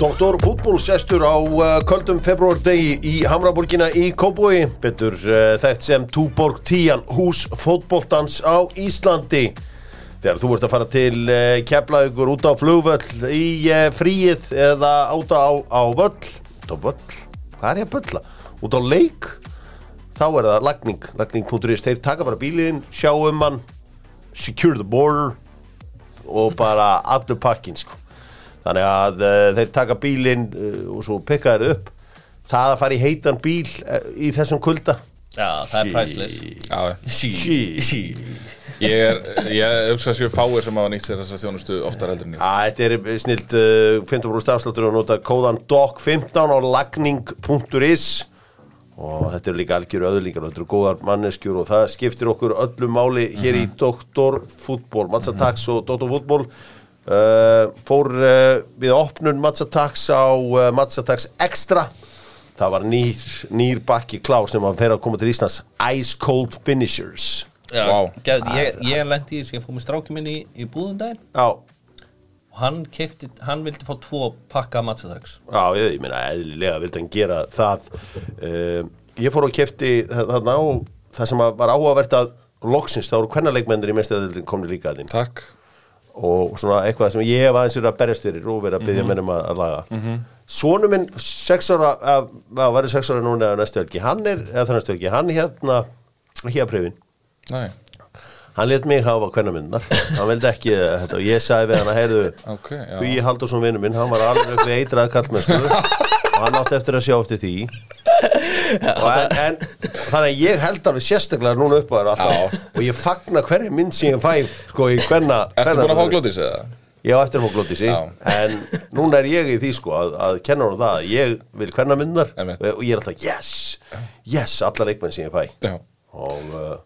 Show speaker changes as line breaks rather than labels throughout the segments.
Doktor fútból sestur á uh, köldum februardegi í Hamraborgina í Kóboi betur uh, þekkt sem Túborg Tíjan hús fótboltans á Íslandi þegar þú ert að fara til uh, keflaugur út á flugvöll í uh, fríið eða út á, á völl út á völl, hvað er ég að bölla? út á leik þá er það lagning, lagning.is þeir taka bara bíliðin, sjá um hann secure the border og bara allur pakkin sko. þannig að uh, þeir taka bílinn uh, og svo pikka þeir upp það að fara í heitan bíl uh, í þessum kulda
Já, það er præslis
Já,
Sí,
Sí.
sí
ég er, ég hugsa að séu fáir sem hafa nýtt sér þess að þjónustu oftar heldur en ég.
að þetta er snilt uh, 15% afsláttur og nota kóðan DOC15 á lagning.is og þetta er líka algjör öðlingar og þetta eru góðar manneskjur og það skiptir okkur öllu máli hér í Doktor Fútból Matsa Tax og Doktor Fútból uh, fór uh, við opnun Matsa Tax á uh, Matsa Tax Extra það var nýr, nýr bakki klár sem hann fer að koma til Íslands Ice Cold Finishers
Já,
Vá.
gæði, ég, ég lendi í þessu, ég fór með strákið minni í, í búðundaginn
Já,
og hann kefti, hann vildi fá tvo pakka matsatags
Já, ég, ég meina eðlilega vildi hann gera það uh, Ég fór og kefti þarna á það sem að var áhugavert að loksins, þá eru hvernig leikmennir í mestaðildin komni líka að þín
Takk.
og svona eitthvað sem ég hef aðeins verið að berjast fyrir og verið að byggja mennum að, að laga mm Sonu minn, sex ára að, að verið sex ára núna eða næstu helgi hann er, eða það næstu helgi, hann hérna ekki að pröfin,
Næ,
hann let mig hafa hvernig myndunar hann veldi ekki eh, þetta og ég sagði við hann að heyrðu
ok, já.
Hugi Haldursson vinnu minn, hann var alveg upp við eitrað kallmennsku og hann átti eftir að sjá eftir því og en, en þannig að ég held alveg sérstaklega núna upp á þér alltaf og ég fagna hverju mynd sem ég fæ sko í hvenna
Ertu búin að fá glótis eða?
Já, eftir að fá glóti sí
Já.
en núna er ég í því sko að, að kenna hann það að ég vil hvenna myndar
Einmitt.
og ég er alltaf yes, yes allar leikmenn sem ég fæ
Já.
og uh,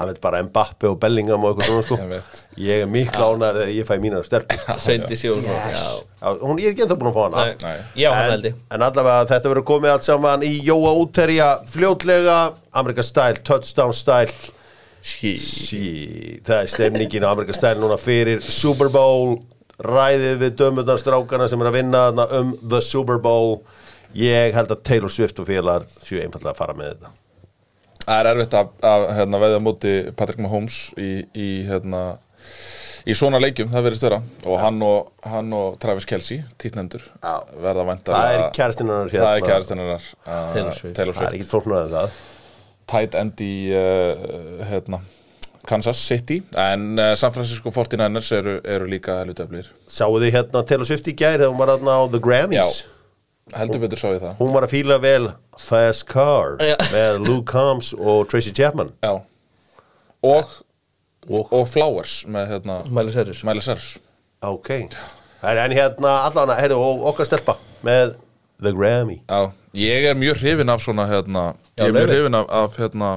hann veit bara Mbappe og Bellingham og eitthvað svona
Einmitt.
sko ég er mikla ánar þegar ég fæ mínar stelpur
Sveindi Sjónsson yes.
Já, hún, ég er ekki ennþá búin að fá hana
Já,
Nei.
já hann
Ah. en,
veldi
en allavega þetta verður komið allt saman í Jóa útterja fljótlega Amerika style, touchdown style
Ski
sí, það er stemningin á Amerika style núna fyrir Super Bowl ræðið við dömundarstrákana sem er að vinna þarna um the Super Bowl ég held að Taylor Swift og félagar séu einfallega að fara með þetta
Það er erfitt að, að hérna, veðja á móti Patrick Mahomes í, í, hérna, í svona leikjum, það verið störa og hann, og hann og Travis Kelsey, títnefndur
Já.
verða væntar
það er kærastinn hennar
Það er
hérna.
kærastinn hennar uh,
Taylor Swift.
Taylor
það er
Swift
ekki tólknar en það
Tight end í uh, hérna, Kansas City en uh, San Francisco 49ers eru, eru líka helvitaðblir
sáu þið hérna Taylor Swift í gær þegar hún var þarna á the Grammys
Já. heldur betur sá ég það
hún var að fíla vel Fast Car
Já.
með Luke Combs og Tracy Chapman
Já. og, og, og Flowers með hérna,
Mæli Serjus
Miley Cyrus
ok en, en hérna allan, heyrðu, og okkar stelpa með The Grammy
Já, ég er mjög hrifin af svona hérna,
Já,
ég er mjög
Laufey.
hrifin af, af hérna,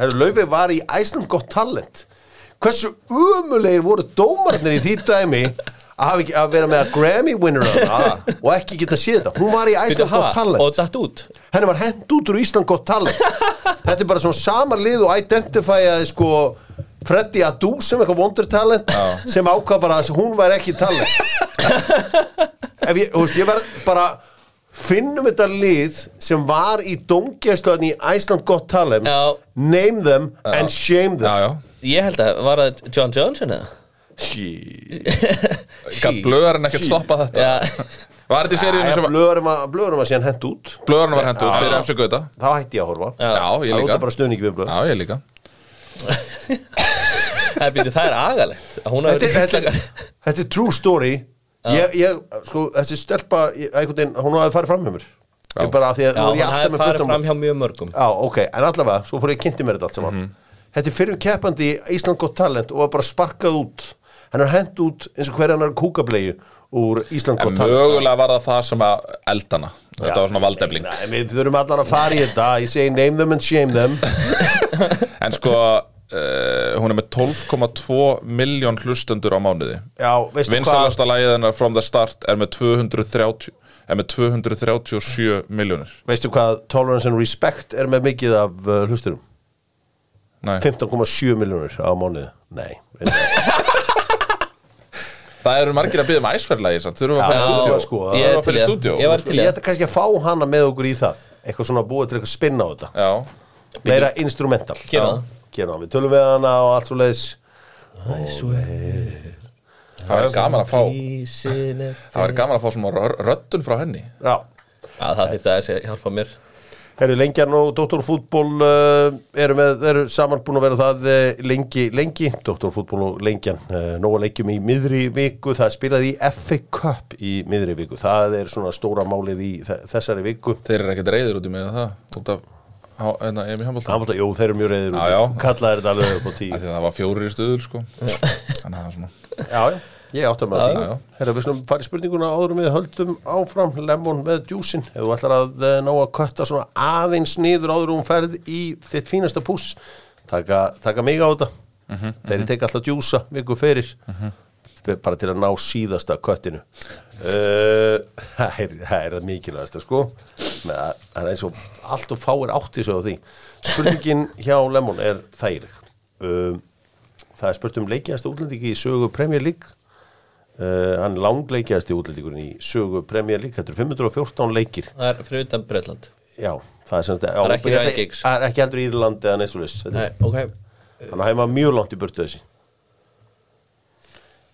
herru, Laufey var í Iceland gott talent hversu umulegir voru dómarnir í því dæmi að, hafa ekki, að vera með að Grammy winner hana, og ekki geta séð þetta hún var í Iceland gott talent
Og datt út
henni var hend út úr Ísland gott talent þetta er bara svona samar lið og identifyaði sko Freddy Adu sem eitthvað wonder talent sem ákvað bara að hún væri ekki talent ef ég, þú veist, ég verð bara finnum þetta lið sem var í dómgjæstöðan í Ísland gott talent
Já.
name them and shame
já,
them
já,
Ég held að var það John Johnson eða?
sí
gæt blöðarinn ekkert stoppa þetta.
Já
Var þetta í seríunum sem
blöðurum að, blöðurum að síðan hend út
blöðarinn var hendur út fyrir MC Gauta?
þá hætti ég að horfa
Já.
Já, ég
það
líka.
var bara stöðningi við blöð
Já, ég líka.
Það byrja, það er agalegt að Hún hafi
þetta,
verið
þetta,
íslaka
þetta er true story ég, ég, sko, þessi stelpa ég, einhvern veginn, hún hafði farið fram hjá mér ég bara af því að
Já,
nú er
hún
ég alltaf
hafi
með
farið
puttum
fram hjá mjög mörgum
já, ok, en allavega, svo fór ég að kynnti mér þetta allt saman þetta er fyrir keppandi í Ísland gott talent og var bara sparkað út hann er hend út eins og hverja hann er kúkablegu úr Ísland
En
gott talent
mögulega var það það sem að eldana. Þetta var svona valdefling.
Nei, við þurfum allan að fara í þetta ég segi name them and shame them
En sko, uh, hún er með 12,2 miljón hlustendur á mánuði.
já, veistu hvað
Vinsalasta lagið hennar From the Start er með 230 er með 237 miljónir.
veistu hvað tolerance and respect er með mikið af uh, hlusturum
Nei,
15,7 miljónur á mánuði nei, veistu
það það eru margir að byggja um æsverðlagi þurfum við að fara í
Já,
stúdíó
sko,
þurfum við
Ég
að fara í stúdíó
Ég var til
Ég
í
ætla kannski að fá hana með okkur í það Eitthvað svona búið til eitthvað spinna á þetta
já,
Meira instrumental
Gera það.
Gera það, við tölum við hana og allt svo leiðis
það var gaman að fá
það
það var gaman að fá svona rö- röddun frá henni
Já,
Já, það þurfti aðeins að hjálpa mér
herru Lengjan og Dr. Fútból uh, eru, með, eru saman búin að vera það uh, lengi, lengi Dr. Fútból og Lengjan uh, Nóa leikjum í miðri viku Það spilaði í FA Cup í miðri viku Það er svona stóra málið í þe- þessari viku
þeir eru ekkert reyðir út í mig eða það út af há- hérna, EM í handbólta
Hamilton, jú, þeir eru mjög reyðir
Já, já.
Kallaði þetta alveg upp á tíu
af því að það var fjórir í stuðul sko þannig að það var svona
Já, já, ég átti með því
Já, já.
Herra, við slum farið spurninguna áður en við höldum áfram lemon með djúsin ef þú ætlar að eh, ná að kötta svona aðeins niður áður um ferð í þitt fínasta pús taka, taka mig á þetta þeir eru tekið alltaf djúsa viku fyrir bara til að ná síðasta köttinu uh, það, er, það er það mikilvægasta sko Með að- það er eins og allt og fáir átti svo á því spurningin hjá Lemon er þægileg um, það er spurt um leikiðasta útlendingi í sögu Premier League Uh, hann langleikjast í útlendingurinn í sögu Premier League, þetta er 514 leikir
Það er fyrir utan Breitland
já, það er, semst,
er ekki raungigs.
það er ekki heldur Írland eða neitt svo leys
Nei, ok
hann hefði maður mjög langt í burtu þessi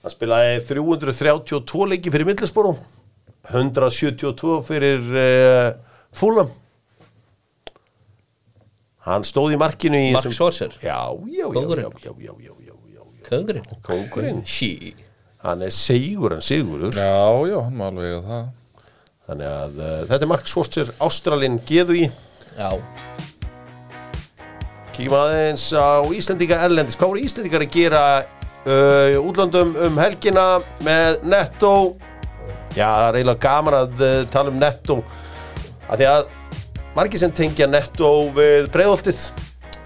hann spilaði 332 leiki fyrir Middelsporum 172 fyrir uh, Fulham hann stóð í markinu í
Mark
þessum-
Schwarzer?
já, já, já, já,
Kóngurinn?
já, já, já, já, já, já.
Köngurinn
Kóngurinn.
Sí
hann er segur en sigurur
já, já, hann má alveg eiga það
þannig að uh, þetta er Mark Schwarzer Ástralinn geðu í
Já
Kíkjum aðeins á Íslendinga erlendis. Hvað voru Íslendingar að gera uh, útlöndum um helgina með Netto? Já, það er eiginlega gaman að uh, tala um Netto. Af því að margir sem tengja Netto við breiðoltið.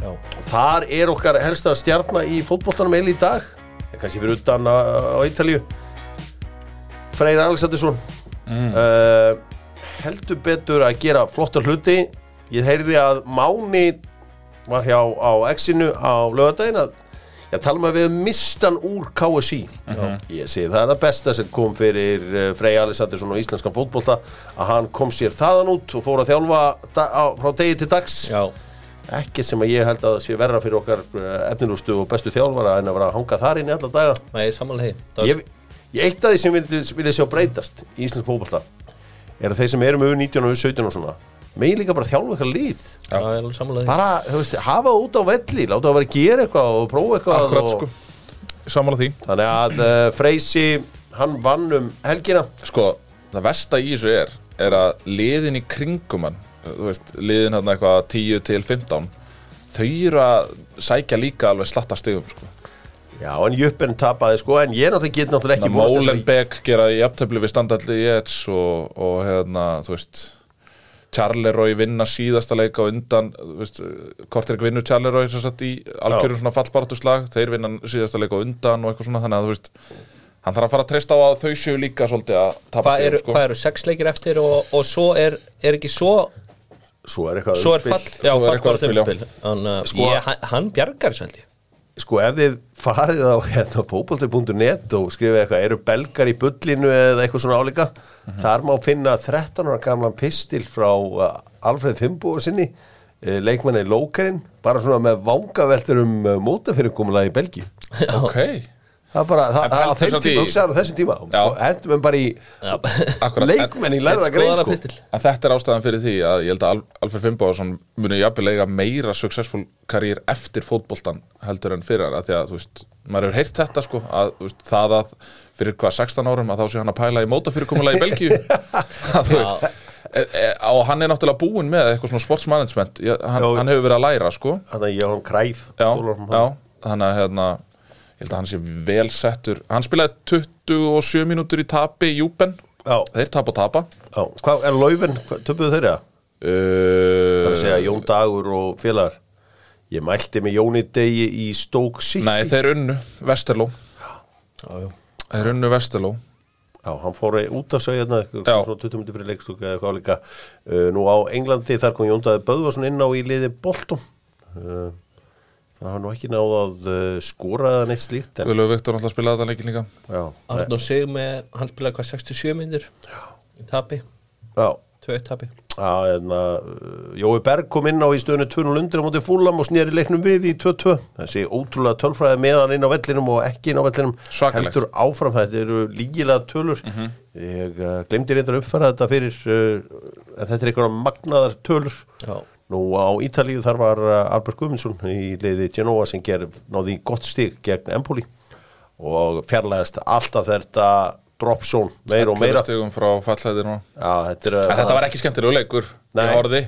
Já
Og þar er okkar helsta stjarnar í fótboltanum eil í dag. Það er kannski fyrir utan á, á Ítalíu. Freyr Alexandersson. Uh, heldur betur að gera flotta hluti. Ég heyrði að Máni var hjá á X-inu á lögadaginn að ég tala maður við mistan úr KSI ég segi það er það besta sem kom fyrir eh, Frey Alessandinsson og íslenskan fótbolta að hann kom sér þaðan út og fór að þjálfa da- á, frá degi til dags
Já
ekki sem að ég held að það sé verra fyrir okkar efnilustu og bestu þjálfara en að vera að hanga þar inn í alla daga
Nei, ég sammála þeim Það var-
ég, ég eitt af því sem vilja, vilja sjá breytast í Íslands fótballa er að þeir sem eru með 19 og 17 og svona megin líka bara þjálfa eitthvað lið
Já, ég er alveg sammála þeim
bara, þú veist, hafa það út á velli láta það vera að gera eitthvað og prófa eitthvað
akkurat
og,
sko samanlega því
þannig að uh, Freysi, hann vann um helgina
sko, það versta í þessu er er að liðin í kringum hann þú veist, liðin hann eitthvað 10 til 15 þau eru að sækja líka alveg slatta stigum sko.
já, en Juppen tapaði sko en ég náttúrulega get náttúrulega ekki vonast eftir því.
Molenbeek gera í aftöfli við standalli í Jets og, og hérna, þú veist Charleroi vinna síðasta leika og undan, þú veist, kortir ekki vinnu Charleroi sem sagt í algjörum svona fallbaratuslag þeir vinna síðasta leika og undan og eitthvað svona, þannig að þú veist hann þarf að fara að treysta á að þau séu líka svolítið að tapa
Hvað eru,
stigum, sko.
hvað eru sex leikir eftir og, og svo er, er ekki svo
svo er eitthvað um
Svo er
umspil.
fall Já,
Svo er
fall
eitthvað
bara
umspil, já.
umspil Þannig að
Sko-
ég- hann- Hann bjargar þessu held ég
sko ef þið farið á hérna, popolti.net og skrifið eitthvað eru belgar í bullinu eða eitthvað svona álíka
Mhm.
þar má finna 13 ára gamlan pistil frá uh, Alfred Fimbo sinni, uh, leikmanni Lókerinn, bara svona með vangaveltur um uh, mótafyrirkomulega í Belgíu
Ok,
það er bara, það,
En
það, á
pældu
þeim
samt
tíma
í-
hugsaðar á þessum tíma
Já.
og hendum við bara í
Akkurat,
leikmenn í lærða
Skoðar
grein
að
sko.
pistil.
En þetta er ástæðan fyrir því að ég held að Al- Alfred Fimboðarsson muni jafnvel eiga meira successful karýr eftir fótboltan heldur en fyrir hann að því að þú veist, maður hefur heyrt þetta sko að þú veist, það að fyrir hvað 16 árum að þá sé hann að pæla í mótafyrirkomulega í Belgíu að þú veist e, e, og hann er náttúrulega búinn með eitthvað svona sportsmanagement Ég- hann,
Já.
hann hefur verið að læra sko
þannig að ég hann kræf
já,
skólanum.
já, þannig að hérna, ég held að hann sé vel settur hann spilaði 27 mínútur í tapi í Júben,
Já.
þeir tapa og tapa
Já. hvað er laufin, töpuðu þeirra?
Uh,
Það er að segja Jón Dagur og félagar Ég mælti með Jóni Degi í Stoke City
Nei, þeir unnu Vesteló
Já, já
Þeir unnu Vesteló
Já, hann fór út af segja hérna kom
Já.
svona 20 minnir fyrir leikstúk eða eitthvað líka Eh, uh, Nú á Englandi, þar kom Jón Dagur Böðvarsson inn á í liði Boltum uh, það hafa nú ekki náð að uh, skora eða neitt slíkt en,
Guðlaug Viktor alltaf spilaði þetta leikin líka
já,
Arnó sig með, hann spilaði hvað 67 minnir í tapi,
já,
2-1 tapi
já en að uh, Jói Berg kom inn á í stöðunni 2-0 undir á móti fúlam og snýri leiknum við í 2-2 þessi ótrúlega tölfræði meðan inn á vellinum og ekki inn á vellinum
Svakalegt. Mhm.
heldur áfram þetta eru lígilega tölur ég uh, glemdi reyndar að uppfæra þetta fyrir uh, en þetta er einhverja magnaðar tölur
Já,
Nú á Ítalíu þar var uh, Albert Guðmundsson í liði Genoa sem ger, náði í gott stig gegn Empoli og fjarlægast alltaf þetta dropzone meira og meira Já,
stegum frá fallæði núna
þetta er
En
uh,
þetta var ekki skemmtilegu leikur
Nei.
Ég horfði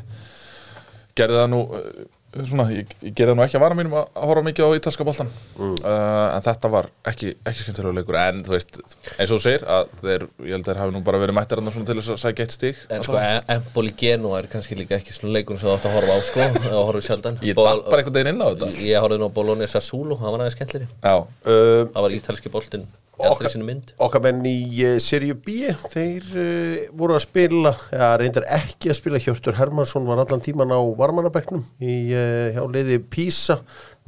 Gerði það nú eh, Svona, ég, ég gerði það nú ekki að vara mínum að að horfa mikið á ítalska boltan
Mm.
uh, En þetta var ekki, ekki skemmtilegu leikur En þú veist, eins og þú segir að þeir, Ég held að þeir hafi nú bara verið mættir þarna svona til þess að sækja eitt stíg
En sko, E- Empoli Genoa er kannski líka ekki svona leikun sem þú átt að horfa á sko, eða horfa sjaldan
Ég
Bol-
datt bara einhvern veginn inn á þetta
Ég horfði nú á Bologna Sassulo, hann var aðeins skemmtleri
Já,
uh,
Það var ítalski boltinn,
Okkar-
alltaf sinni mynd
okkar menn í uh, Serie B þeir uh, voru að spila ja, reyndar ekki að spila Hjörtur Hermansson var allan tíman á varmanabeknum í uh, hjá liði Pisa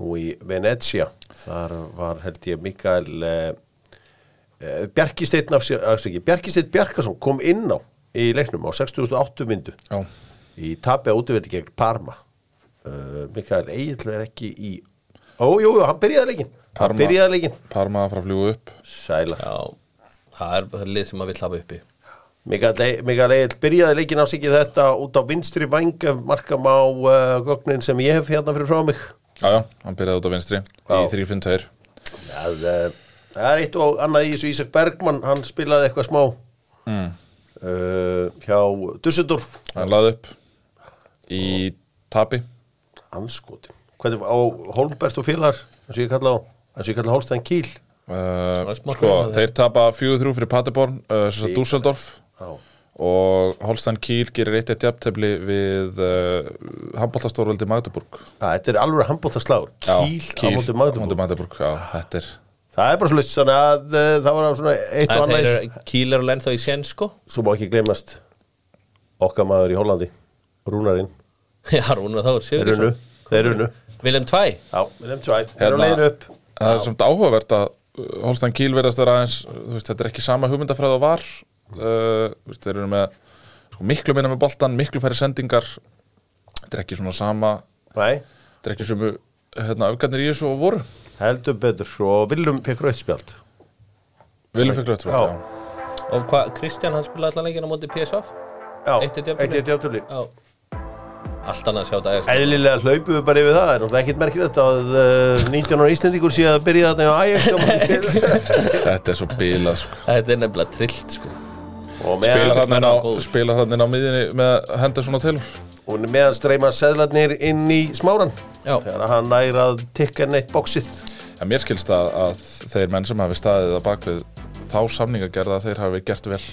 nú í Venezia þar var held ég Mikael uh, Bjarkisteinn Bjarkisteinn Bjarkason kom inn á í leiknum á 6008 myndu
já
í tapi á útivelli gegn Parma uh, Mikael Egil er ekki í Ó, jú, jú, hann byrjaði leikin Hann
Parma.
byrjaði leikin
Parma frá að fljúga upp
Sæla
Já, það er það er lið sem maður vill hafa uppi
Mikael Egil byrjaði leikin á sig í þetta út á vinstri væng ef markam á uh, gögnin sem ég hef hérna fyrir frá mig
Já, já, hann byrjaði út á vinstri
Já.
Í 3-5-2
Það, uh, það er eitt og annað í þessu Ísak Bergmann hann spilaði eitthvað smá
mm.
uh, hjá Dusseldorf
Hann laði upp Í tapi
anskoti hvernig á Holmbert og félagar eins og ég kalla á eins og ég kalla Holstein Kíl
Uh,
Það er smá
sko,
hrunið
þeir tapa 4-3 fyrir Paderborn uh, sem sagt Dusseldorf
Já.
og Holstein Kiel gerir eitt eitt jafntefli við uh, handbóltastórveldi Magdeburg
Æ, þetta er alveg handbóltaslágur
Já,
Kíl, Kíl á móti
á móti
Magdeburg
Magdeburg já, þetta er
Það er bara svolítið þannig að uh, það var svona eitt og
En
annað
þeir
í-
eru kýlar og lenn þá í sen sko
Svo má ekki gleymast okkar maður í Hollandi Rúnarinn,
Já, Rúnar Þór,
þeir unnu
Sigurðsson
Þeir unnu
Vilhelm 2
Já, við nefnum tvæ Þeir eru á
Hérna-
leiðinu upp
það er samt áhugavert að uh, Holstein Kiel verðast vera aðeins uh, þú veist, þetta er ekki sama hugmyndafræð og var uh, þú veist, þeir eru með sko, miklu minna með boltan, miklu færri sendingar þetta er ekki svona sama
Nei,
þetta er ekki sömu hérna, öfgarnir í þessu og voru
heldur betur og Willum fekk rauðspjald
Viljum fyrir glötu
Já.
Og hvað, Kristján hann spilaði allan leikinn á móti PSV
Já,
Eitt eitt jafntefli.
eitt eitt jafntefli.
Já Allt annað að sjá þetta eða
Eðlilega hlaupum við bara yfir það, það er náttúrulega ekkert merkilegt að uh, 19 ára Íslendingur sé að byrja þetta á Ajax á móti Chelsea.
þetta er svo bilað sko
Þetta er nefnilega trillt sko
og
Spilar
meðan,
hann inn á,
menn á góðu.
spilar hann inn á miðinni með Henderson og Taylor
og meðan streyma seðlarnir inn í smáran
Já.
þegar hann nær að tikka neitt bóksið
ja, Mér skilst að, að þeir menn sem hafi staðið að bakvið þá samningagerða þeir hafi gert vel Ég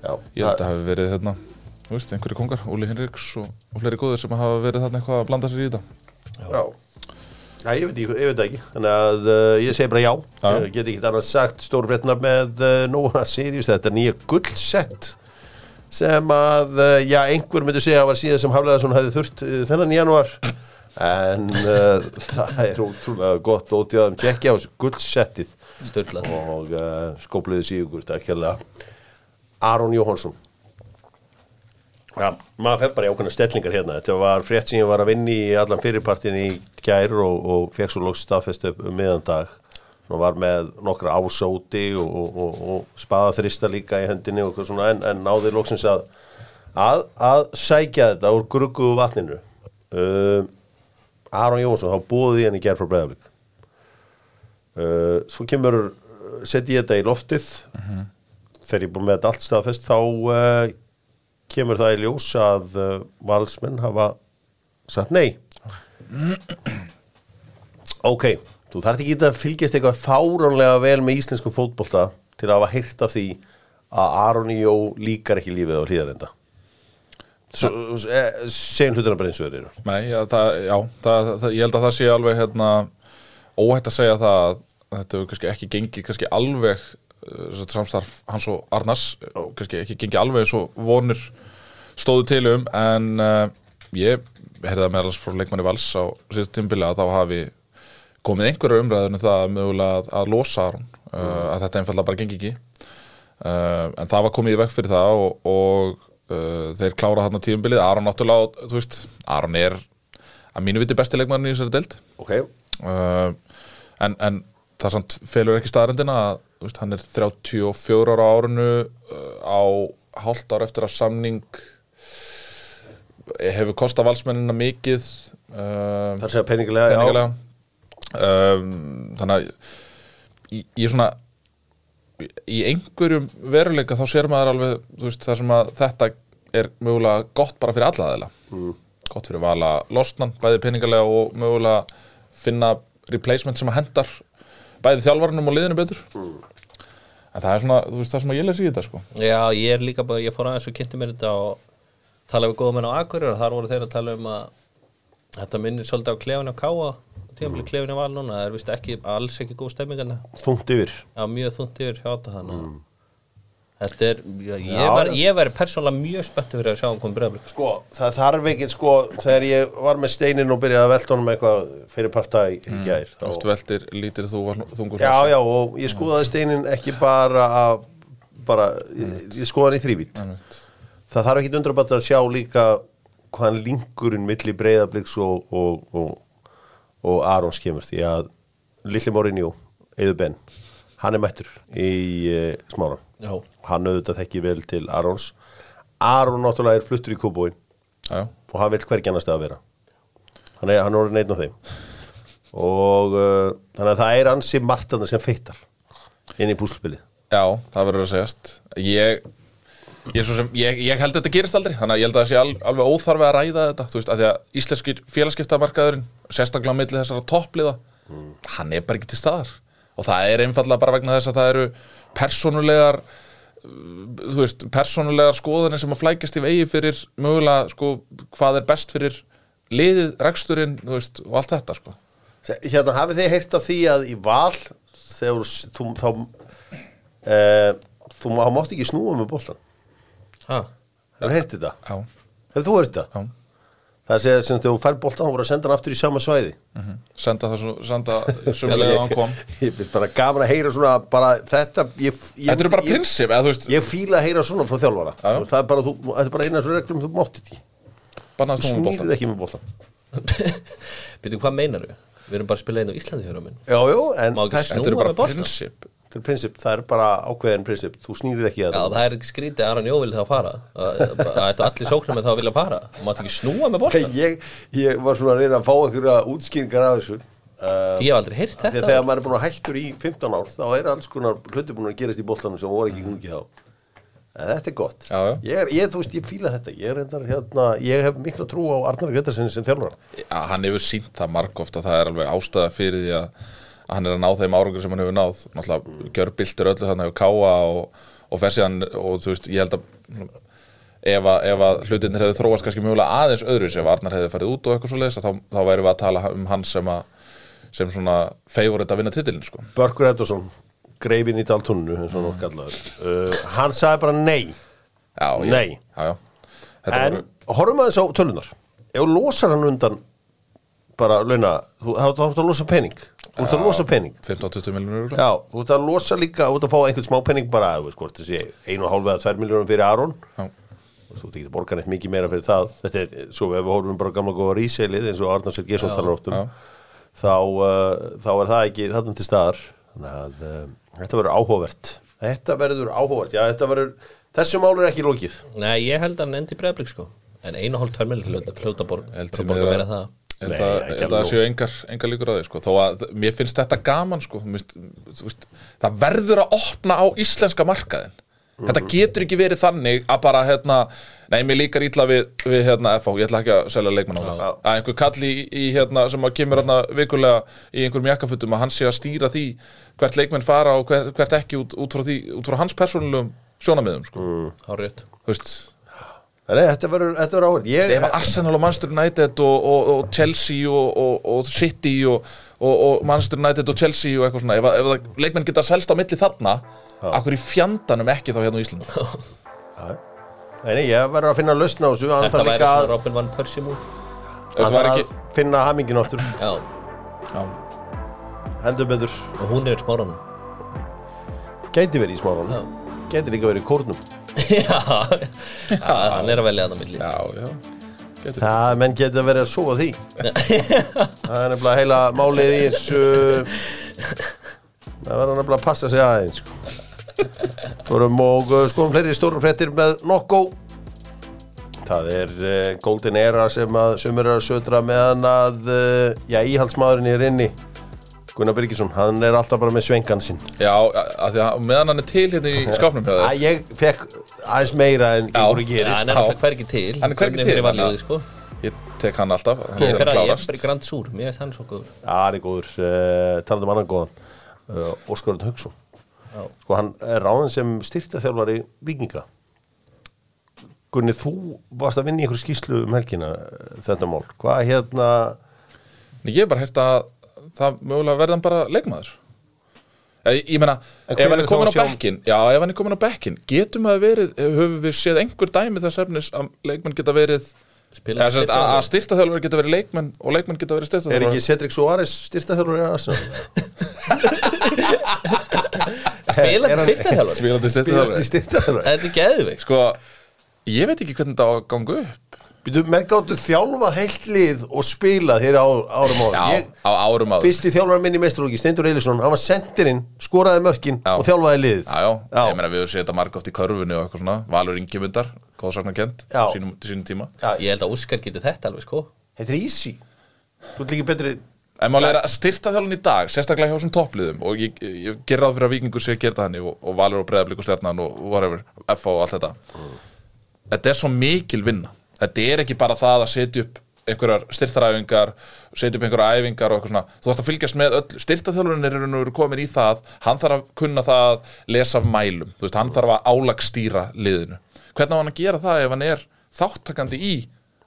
Já,
held að hafi verið hérna þú veist, einhverju kongar, Óli Hinriks og, og fleiri góður sem hafa verið þarna eitthvað að blanda sér í þetta
Já. Já, ég veit, ekki- ég veit það ekki Þannig að uh, ég segi bara já,
Já.
Ég get ekki annað sagt stórfréttnar með uh, Nóa Sirius, þetta er nýja gullsett sem að uh, já, einhver myndi segja að var síðan sem Hafleðarsson hefði þurft uh, þennan í janúar en uh, það er ótrúlega gott ótjáðum tjekkja á þessu gullsettið
Sturlað
og uh, skópliði sígur takkjala Aron Jóhansson Já, maður fer bara í ákveðna stellingar hérna þetta var frétt sem ég var að vinni í allan fyrirpartin í kær og, og fekk svo loks staðfestu um miðan dag og var með nokkra ásóti og, og, og, og spaða þrista líka í hendinni og eitthvað svona en, en náði loksins að, að að sækja þetta úr grugguðu vatninu um, Aron Jónsson, þá búið ég henni gær frá Breiðablík uh, svo kemur uh, setji ég þetta í loftið þegar ég er búin með þetta allt staðfest þá uh, kemur það í ljós að uh, valsmenn hafa sagt nei ok, þú þarft ekki að fylgjast eitthvað fáránlega vel með íslensku fótbolta til að hafa heyrt af því að Aron Jó líkar ekki lífið á hlýðarenda segjum hlutina bara eins og þeir eru
Nei, já, það, já það, það, ég held að það sé alveg hérna, óhætt að segja það að þetta hefur kannski ekki gengið kannski alveg uh, sem sagt, samstarf hans og Arnars uh, kannski ekki gengið alveg eins og vonir stóðu til um en uh, ég heyrði það meðalans frá leikmanni Vals á síðast tímbili að þá hafi komið einhverjar umræður um það mögulega að, að losa hann að þetta einfallega bara gengi ekki uh, en það var komið í vekk fyrir það og, og uh, þeir klára þarna tímbilið Aron náttúrulega, þú veist, Aron er að mínu viti besti leikmann í þessari deild
Ok,
uh, en, en það samt felur ekki staðarendina að þú veist, hann er 34 ára á árinu uh, á hálft ár eftir að samning eh, hefur kostað valsmennina mikið uh,
það sé að peningilega,
peningalega um, þannig að ég, ég svona í einhverjum veruleika þá sér maður alveg þú veist, það sem að þetta er mögulega gott bara fyrir alla aðeila gott fyrir vala losnan, bæði peningalega og mögulega finna replacement sem að hendar bæði þjálfarnum og liðinu betur en það er svona, þú veist, það sem að ég lesi í þetta sko.
Já, ég er líka bara, ég fór aðeins og kynnti mér þetta og talaði við góða menn á Akureyri og þar voru þeir að tala um að þetta minnir svolítið á klefinu á Káa og
Mm.
tímafli klefinu á Val núna, það er vist ekki, alls ekki góð stemmingana,
þungt yfir
það er mjög þungt yfir hjá þetta þannig að Þetta er, ég,
Mm. Já,
ég, var,
þetta-
ég væri persónulega mjög spenntu fyrir að sjá um komið breyðablik
Sko, það þarf ekki, sko, þegar ég var með steinin og byrjaði að velta honum eitthvað fyrir parta í mm. gær þá-
oft veltir, lítir þú var þungur
Já,
hross.
já, og ég skoðaði steinin ekki bara að bara, ég, ég skoðaði hann í þrývít Það þarf ekki undrabætt að sjá líka hvaðan lingurinn milli breyðabliks og, og, og, og Arons kemur því að Lilli Morinjó, Eður Ben hann er mættur í e, smáran
Já,
hann auðvitað þekki vel til Arons Aron náttúrulega er fluttur í kúbóin
Já, já.
og hann vil hvergi annars að vera hann er, hann er orðin einn af þeim og uh, þannig að það er ansi margt þarna sem feittar inn í púslspilið
Já, það verður að segjast Ég, ég, svo sem, ég, ég held að þetta gerist aldrei Þannig að ég held að það sé al, alveg óþarfi að ræða þetta Þú veist, af því að íslenskir félagskiptamarkaðurinn Sérstaklega á milli þessara toppliða Hann er bara ekki til staðar Og það er einfallega bara vegna þess að það eru Persónulegar uh, Þú veist, persónulegar skoðanir sem að flækjast í vegi fyrir Mögulega, sko, hvað er best fyrir Liðið, reksturinn, þú veist Og allt þetta, sko
Se- hérna hafið þið heyrt af því að í val þegar þú þá uh, þú má- mátt ekki snúa með boltan
ha,
hefur heyrt þetta,
Já,
hefur þú heyrt þetta
já
það sé sem þegar þú fær boltan þá voru að senda hann aftur í sama svæði
Senda það svo, senda sumulega að hann kom
ég finnst bara gaman að heyra svona bara þetta ég, ég,
Þetta eru bara
ég,
prinsip, eða þú veist,
ég fíla að heyra svona frá þjálfara
Já, já.
það er bara, þú, þetta er bara eina svo reglum þú mátt þetta ekki
bannaðist hún með
snýrið
boltan
ekki með boltan
byrju hvað meinar við? Við erum bara að spila einn á Íslandi hérna minn
Jú, jú, en
Má ekki
þetta
Þetta eru
Snúa
bara
með boltan.
prinsip
þetta er prinsip, það er bara ákveðin prinsip þú snýrið ekki að
Já, það er ekki skrítið að Aron Jó vilja það fara að, að, að allir sóknar með það vilja fara Máttu ekki snúa með boltan
ég, ég var svona að reyna að fá einhverja útskýringar af þessu uh,
Ég hef aldrei heyrt
þegar,
þetta
þegar maður er búin að hættur í 15 ár þá er alls konar hluti búin að gerast í boltanum sem voru ekki gungi þá en þetta er gott
Já, já.
Ég, er, ég, þú veist, ég fíla þetta ég, er reyndar, hérna, ég hef mikla trú á Arnar Grettarsen sem þjálfur
ja, Hann hefur sínt það margóft að það er alveg ástæða fyrir því að að hann er að ná þeim árangur sem hann hefur náð Náttúrulega gjörbiltir öllu þannig að káa og, og fer síðan og þú veist, ég held að ef að, ef að hlutinir hefðu þróast kannski mjögulega aðeins öðru ef Arnar hefði farið út og eitthvað svo leiðis þá, þá værum við að tala um hann sem að sem svona favorite að vinna titilin sko.
Börkur Eddarsson, greifin í daltunnu eins og hann var kallaður uh, hann sagði bara nei
já, ég-
Nei.
já, já. Þetta
En
voru-
horfum aðeins á tölunar Ef þú losar hann undan bara launa, þú þá þá ertu að losa pening Þú ert að losa pening
15-20 miljonur
Já, þú ert að losa líka, þú ert að fá einhvern smá pening bara, þú veist hvort þessi einu og hálfa eða tvær miljónum fyrir Aron og þú ert ekki að borga neitt mikið meira fyrir það þetta er, svo ef við horfum bara á gamla góða ríseilið eins og Arnar Sveit Gesson talar oft
já.
um þá, uh, þá er það ekki þarna til staðar þannig að uh, þetta verður áhugavert þetta verður áhugavert, já þetta verður þessu mál er ekki lokið
Nei, ég held að hann endi breyðablík sko En einu hálf tværmil hljóta hljóta borg
Held
Hljóta
sem
borg að
er
vera það
Ég
Nei,
held að,
ekki
ég held að
alveg
það séu engar, engar líkur að því sko. þó að mér finnst þetta gaman sko. Mér finnst- þú veist, það verður að opna á íslenska markaðin þetta
Mhm.
getur ekki verið þannig að bara hérna, nei mér líkar ítla við, við hérna FH, ég ætla ekki að selja leikmann á það
Já.
að einhver kall í, í hérna sem að kemur hérna vikulega í einhverjum jakkafutum að hann sé að stýra því hvert leikmenn fara og hvert, hvert ekki út, út, frá því, út frá hans persónulegum sjónamiðum sko.
Mm.
Hárið
þú veist
Nei, þetta verður þetta verður áhugavert Ég-
ef að Arsenal og Manchester United og, og, og Chelsea og, og, og City og, og, og Manchester United og Chelsea og eitthvað svona, ef, að- ef að leikmenn geta selst á milli þarna, akkur í fjandanum ekki þá hérna á Ísland
Já. Nei, nei, ég verður að finna lausn á þessu hann
Þetta
þarf
væri
líka
svona
að,
Robin Van Persie múl
Ef
Hann
það var
þarf
ekki-
að finna hamingin áttur
Já,
Já,
Heldur betur
og hún er smáran
Gæti verið í smáranum Gæti líka verið í kórnum
Já, Já, hann er að velja þarna milli
já, já Getur
Það menn geti verið að sofa því Það er nefnilega heila málið í þessu Það verður nefnilega að passa sig aðeins sko. Förum og uh, skoðum fleiri stórum fréttir með Nokko Það er uh, Golden Era sem að sumir eru að södra meðan að uh, já, íhaldsmaðurinn er inni Gunnar Birgisson, hann er alltaf bara með svengan sinn
Já, að því að meðan hann er til hérna í skápnum hjá
Æ,
þér
ég fekk aðeins meira en gengur og
Já,
gerist
hann er alltaf hvergi til
Hann er hvergi
Finnur
til,
fyrir
hann að-
vanlífið, sko.
Ég tek hann alltaf, hann
Ég
er
fer að-
að
ég er
klárast
bara í Grand Sur, mér finnst hann svo góður
Já, hann er góður, uh, talað um annan góðan uh, Óskarund Hauksson
Já.
Sko, hann er ráðin sem styrtaþjálfari vikinga Gunni, þú varst að vinna í einhverju skýslu um helgina eh, þetta mál Hvað hérna,
Nei, Ég hef bara heyrt að það mögulega verða hann bara leikmaður Ég, ég meina,
En
ef
hver
hann
er
er
þá
komin á
sjálf-
bekkin Já, ef hann er komin á bekkin Getum að verið, höfum við séð einhver dæmi þess efnis að leikmenn geta verið
Spila-
eða sem sagt, að styrtaþjálfur geta verið leikmenn og leikmenn geta
er
verið styrtaþjálfur
ekki Cedric Suárez styrtaþjálfari að þessu?
Spilandi styrtarhjálfari
Spilandi
Spilandi
styrtaþjálfur
styrtaþjálfari
Þetta er geðveik, sko
Sko, ég veit ekki hvernig þetta á að ganga upp
Býtu, menn gáttu þjálfa heilt lið og spila þeirra á, árum árum
Já,
Ég,
á árum áður
Fyrsti þjálfari minn í meistarlóki, Steindur Eilisson Hann var sendirinn, skoraði mörkin
Já.
og þjálfaði liðið
Já, já, ég meina við höfum séð þetta margótt í körfunni og eitthvað svona Valur Ingimundar, góðsagnarkend
Já.
sínum, sínum tíma
Ég held að Óskar geti þetta alveg, sko
Þetta er easy Þú ert líka betri
En maður er að styrta þjálun í dag, sérstaklega hjá þessum toppliðum og ég, ég ger ráð fyrir að vikingur sé að gera það henni og, og Valur og Breiðablík og Stjarnan og whatever, FA og allt þetta Þetta er svo mikil vinna Þetta er ekki bara það að setja upp einhverjar styrtaræfingar, setja upp einhverjar æfingar og eitthvað svona, þú þarft að fylgjast með öll styrtaþjálfurinn er raun og veru komin í það hann þarf að kunna það að lesa af mælum þú veist, hann þarf að álagstýra liðinu hvernig á hann að gera það ef hann er þáttakandi í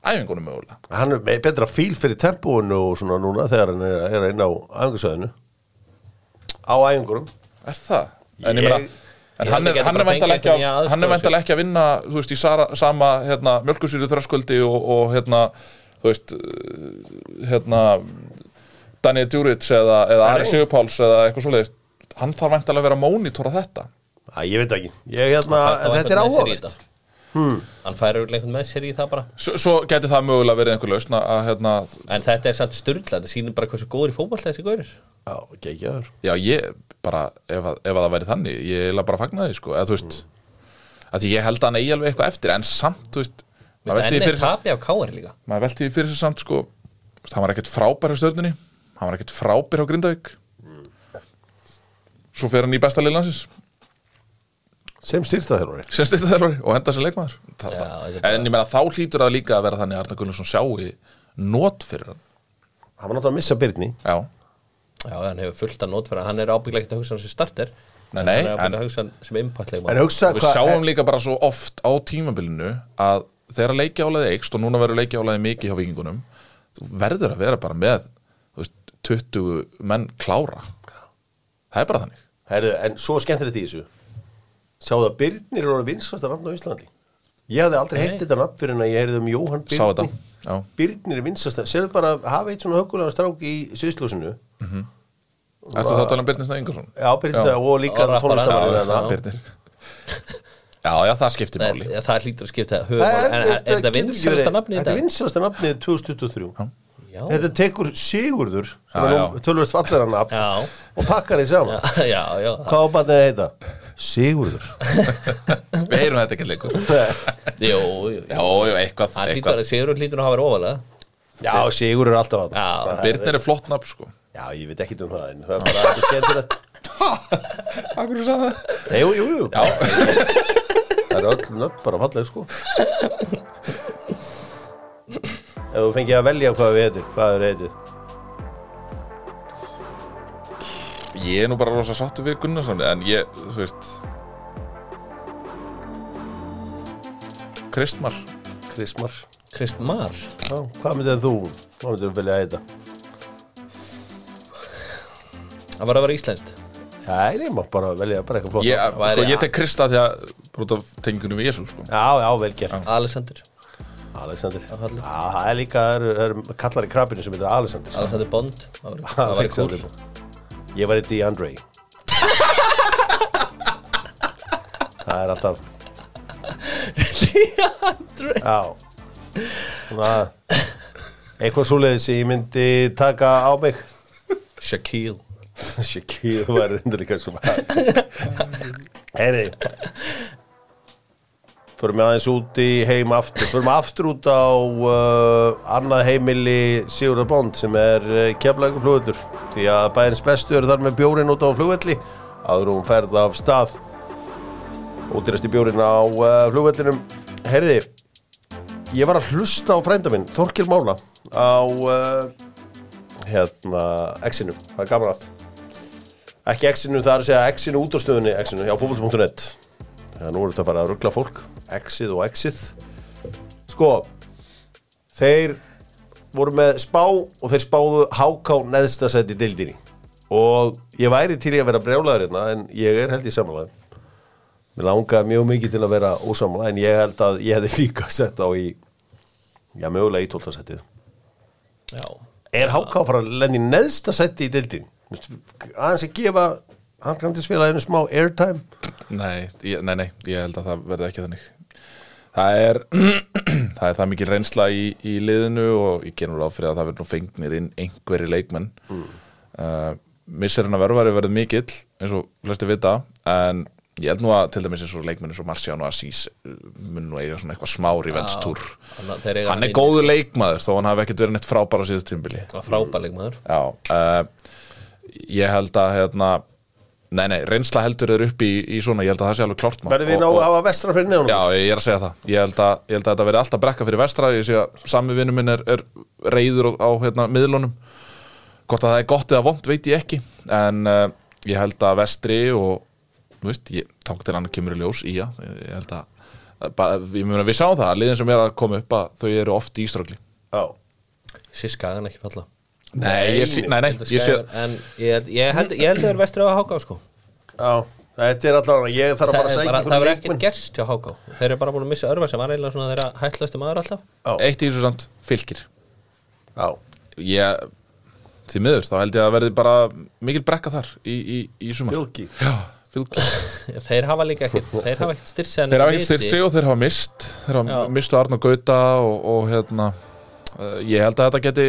æfingunum mögulega
Hann er með betra fíl fyrir tempóinu og svona núna þegar hann er, er inn á æfingarsöðinu Á æfingurum
Er það? En ég
Ég-
meina
Ég
En hann
held ekki
er,
að
hann, er
bara fengja
væntanlega ekki
einhvern í
að,
að
hann
aðstoða
er
sig.
væntanlega ekki að vinna þú veist, í sara, sama hérna, mjölkusýru þröskuldi og, og hérna, þú veist uh, hérna Daniel Djuric eða, eða Ari Sigurpáls eða eitthvað svoleiðist hann þarf væntanlega að vera að mónitora þetta
Æ, ég veit ekki Ég hérna, en þetta er áhugavert
hmm. Hann færir einhvern með sér í það bara
S Svo geti það mögulega verið einhver lausn að hérna,
En þetta er satt styrla, þetta sýnir bara hversu góður í fótbolta þessi góður
Já, geggjaður
já ég bara ef, að, ef að það væri þannig, ég er bara að fagna því sko, eða þú veist að því ég held að hann eigi alveg eitthvað eftir en samt, þú veist maður velti því
En
fyrir
er
sér-
tapi á káar líka
maður velti því fyrir sér samt sko þú veist, hann var ekkert frábær á stjörnunni hann var ekkert frábær á Grindavík svo fer hann í besta liðlandsins
Sem styrta þjálfari
sem styrta þjálfari og henda sem leikmaður Þa,
Já,
það.
þetta er bara-
en ég meina þá hlýtur það líka að vera þannig að Arna Gunnarsson sjái nót fyrir hann
Hann var náttúrulega að missa Byrni
já,
Já, hann hefur fullt að notfæra, hann er ábygglega ekkert að hugsa hann sem starter
Nei,
En
nei,
Hann er
en-
ábygglega að hugsa hann sem impactleik
En hugsa
við sjáum líka bara svo oft á tímabilinu að þegar leikjálaði eikst og núna verður leikjálaði mikið hjá vikingunum þú verður að vera bara með þú veist, 20 menn klára það er bara þannig
Herðu, en svo skemmtilegt í þessu Sjáðu að Byrnir eru vinskvæsta nafn á Íslandi Ég hafði aldrei heyrt þetta nafn fyrir en að ég heyrði um Jóhann
Sá þetta,
Byrni
já.
Byrnir er vinskvæsta Sérðu bara að hafa eitt svona höggulega strák í sviðslósinu
Ertu þá að tala um Birnir Snæ Ingarsson?
Já, Byrnir
Já.
og líka hérna.
Og rapparana.
tónlistamann
Já, já.
Birnir Já, já, það skiptir máli
Nei, það hlýtur að skipta það höfumáli.
Það
En er þetta vinsalasta nafni í
Þetta er
dag?
vinsalasta nafnið 2023
Já,
Þetta tekur Sigurður sem
Já,
er
já.
nú tölvöld fallara nafn
Já.
og pakkar því saman
já, já, já
Hvað á batnið að heita? Sigurður
Við heyrum þetta ekki leikur Já,
Jú, jú, jú
já, eitthvað,
Hann hlýtur
eitthvað.
að Sigurður hlýtur að hafa verið ofalega
Já, Sigurður er alltaf að
Já,
Birnir er flott nafn, sko
Já, ég veit ekki um það en það er bara þetta skemmtilegt
Akkur er það
Nei, jú, jú, jú Það er öll nöfn bara falleg sko Ef þú fengið að velja hvað við heitir hvað við heitir
Ég er nú bara rosa sáttu við Gunnarsson En ég, þú veist Kristmar
Krismar
Kristmar
Já, hvað myndið þú? Hvað myndið þú velja að heita?
Það var að vera íslenskt
Já, ég má bara velja bara eitthvað flott
ég,
nafn.
sko, ég tek Krista því að Brúta tengunum við Jésu, sko
Já, já, vel gert
Alexander
Alexander
fallegt.
Já, Það er líka, það eru- það eru kallar í krabinu sem heitir Alexander
Alexander Bond það væri- það væri
Alexander.
cool
Ég var í DeAndre Það er alltaf
DeAndre
Já Svona Eitthvað svoleiðis sem ég myndi taka á mig
Shaquille
Shaquille var reyndur líka svona Heyri Förum við aðeins út í heim aftur Förum aftur út á uh, annað heimili Sigurðar Bond sem er uh, keflægur flugvöllur Því að bæðins bestu eru þar með bjórin út á flugvölli áður en hún ferð af stað Útirasti bjórin á uh, flugvöllinum Heyriði Ég var að hlusta á frænda minn, Þorkil Mála á uh, hérna, X-inu, það er gaman að ekki X-inu, það er að segja X-inu út á stöðunni, X-inu, já, fókbalt.net þannig að nú erum þetta að fara að ruggla fólk X-ið og X-ið sko, þeir voru með spá og þeir spáðu háká neðsta sett í deildinni og ég væri til í að vera brjálaður hérna en ég er held í samanlega Mér langaði mjög mikið til að vera ósamlega en ég held að ég hefði líka sett á í já, mögulega í 12. setið
já
Er HK að fara að lenni neðsta setti í dildin? Aðeins að gefa handkvæmtisfélaginu smá airtime
Nei, ég, nei, nei, ég held að það verði ekki þannig Það er það er það mikil reynsla í, í liðinu og ég gerum ráð fyrir að það verður nú fengnir inn einhverju leikmenn mm. uh, Misserinn að verðværi verður mikill eins og flesti vita en ég held nú að til dæmis eins og leikmenn eins og Marciano Assis uh, mun nú eiga svona eitthvað smá revenge-túr
hann, þeir eiga
Hann er
inni-
góður leikmaður þó hann hafi ekkert verið neitt frábæra á síðast tímbili
Það var frábærleik maður
Já, uh, ég held að hérna, nei, nei, reynsla heldur er upp í, í svona, ég held að það sé alveg klárt maður.
Verðum við ná
Og-
að
og-
hafa vestra fyrir neðan
Já, ég er að segja það, ég held að, ég held að þetta verði alltaf brekka fyrir vestra, ég sé að sami vinnu minn er, er reyður á, á hérna, miðlunum, hvort að það er gott eða vond veit ég ekki, en uh, ég held að vestri og, þú veist, ég, tank til annar kemur í ljós í að, ég held að, bara, ég meina við sáum það, liðin sem er að koma upp að þau eru oft í ströggli.
Já.
síst skagan ekki falla
Nei, ég, sé- nei, nei,
Þetta
ég sé,
Skagan- en ég held ég held, ég held að vera vestur á háká sko
Já, þetta er allavega Ég þarf að
það
bara að
er
segja
bara, það
einhvern
verður ekkert
leikmenn
gerst hjá háká þeir eru bara búin að missa örfa sem var eiginlega svona þeirra hættlasti maður alltaf
Já,
eitt í þessu samt, fylgir.
já,
ég því miður, þá held ég að verði bara mikil brekka þar í, í, í sumar
fylgi
Já, fylgi
þeir hafa líka ekkert þeir hafa ekkert styrst sem
Þeir hafa ekki styrt sig og þeir hafa mist Þeir hafa
Já.
mistu Arn og Gauta og, og hérna uh, ég held að þetta geti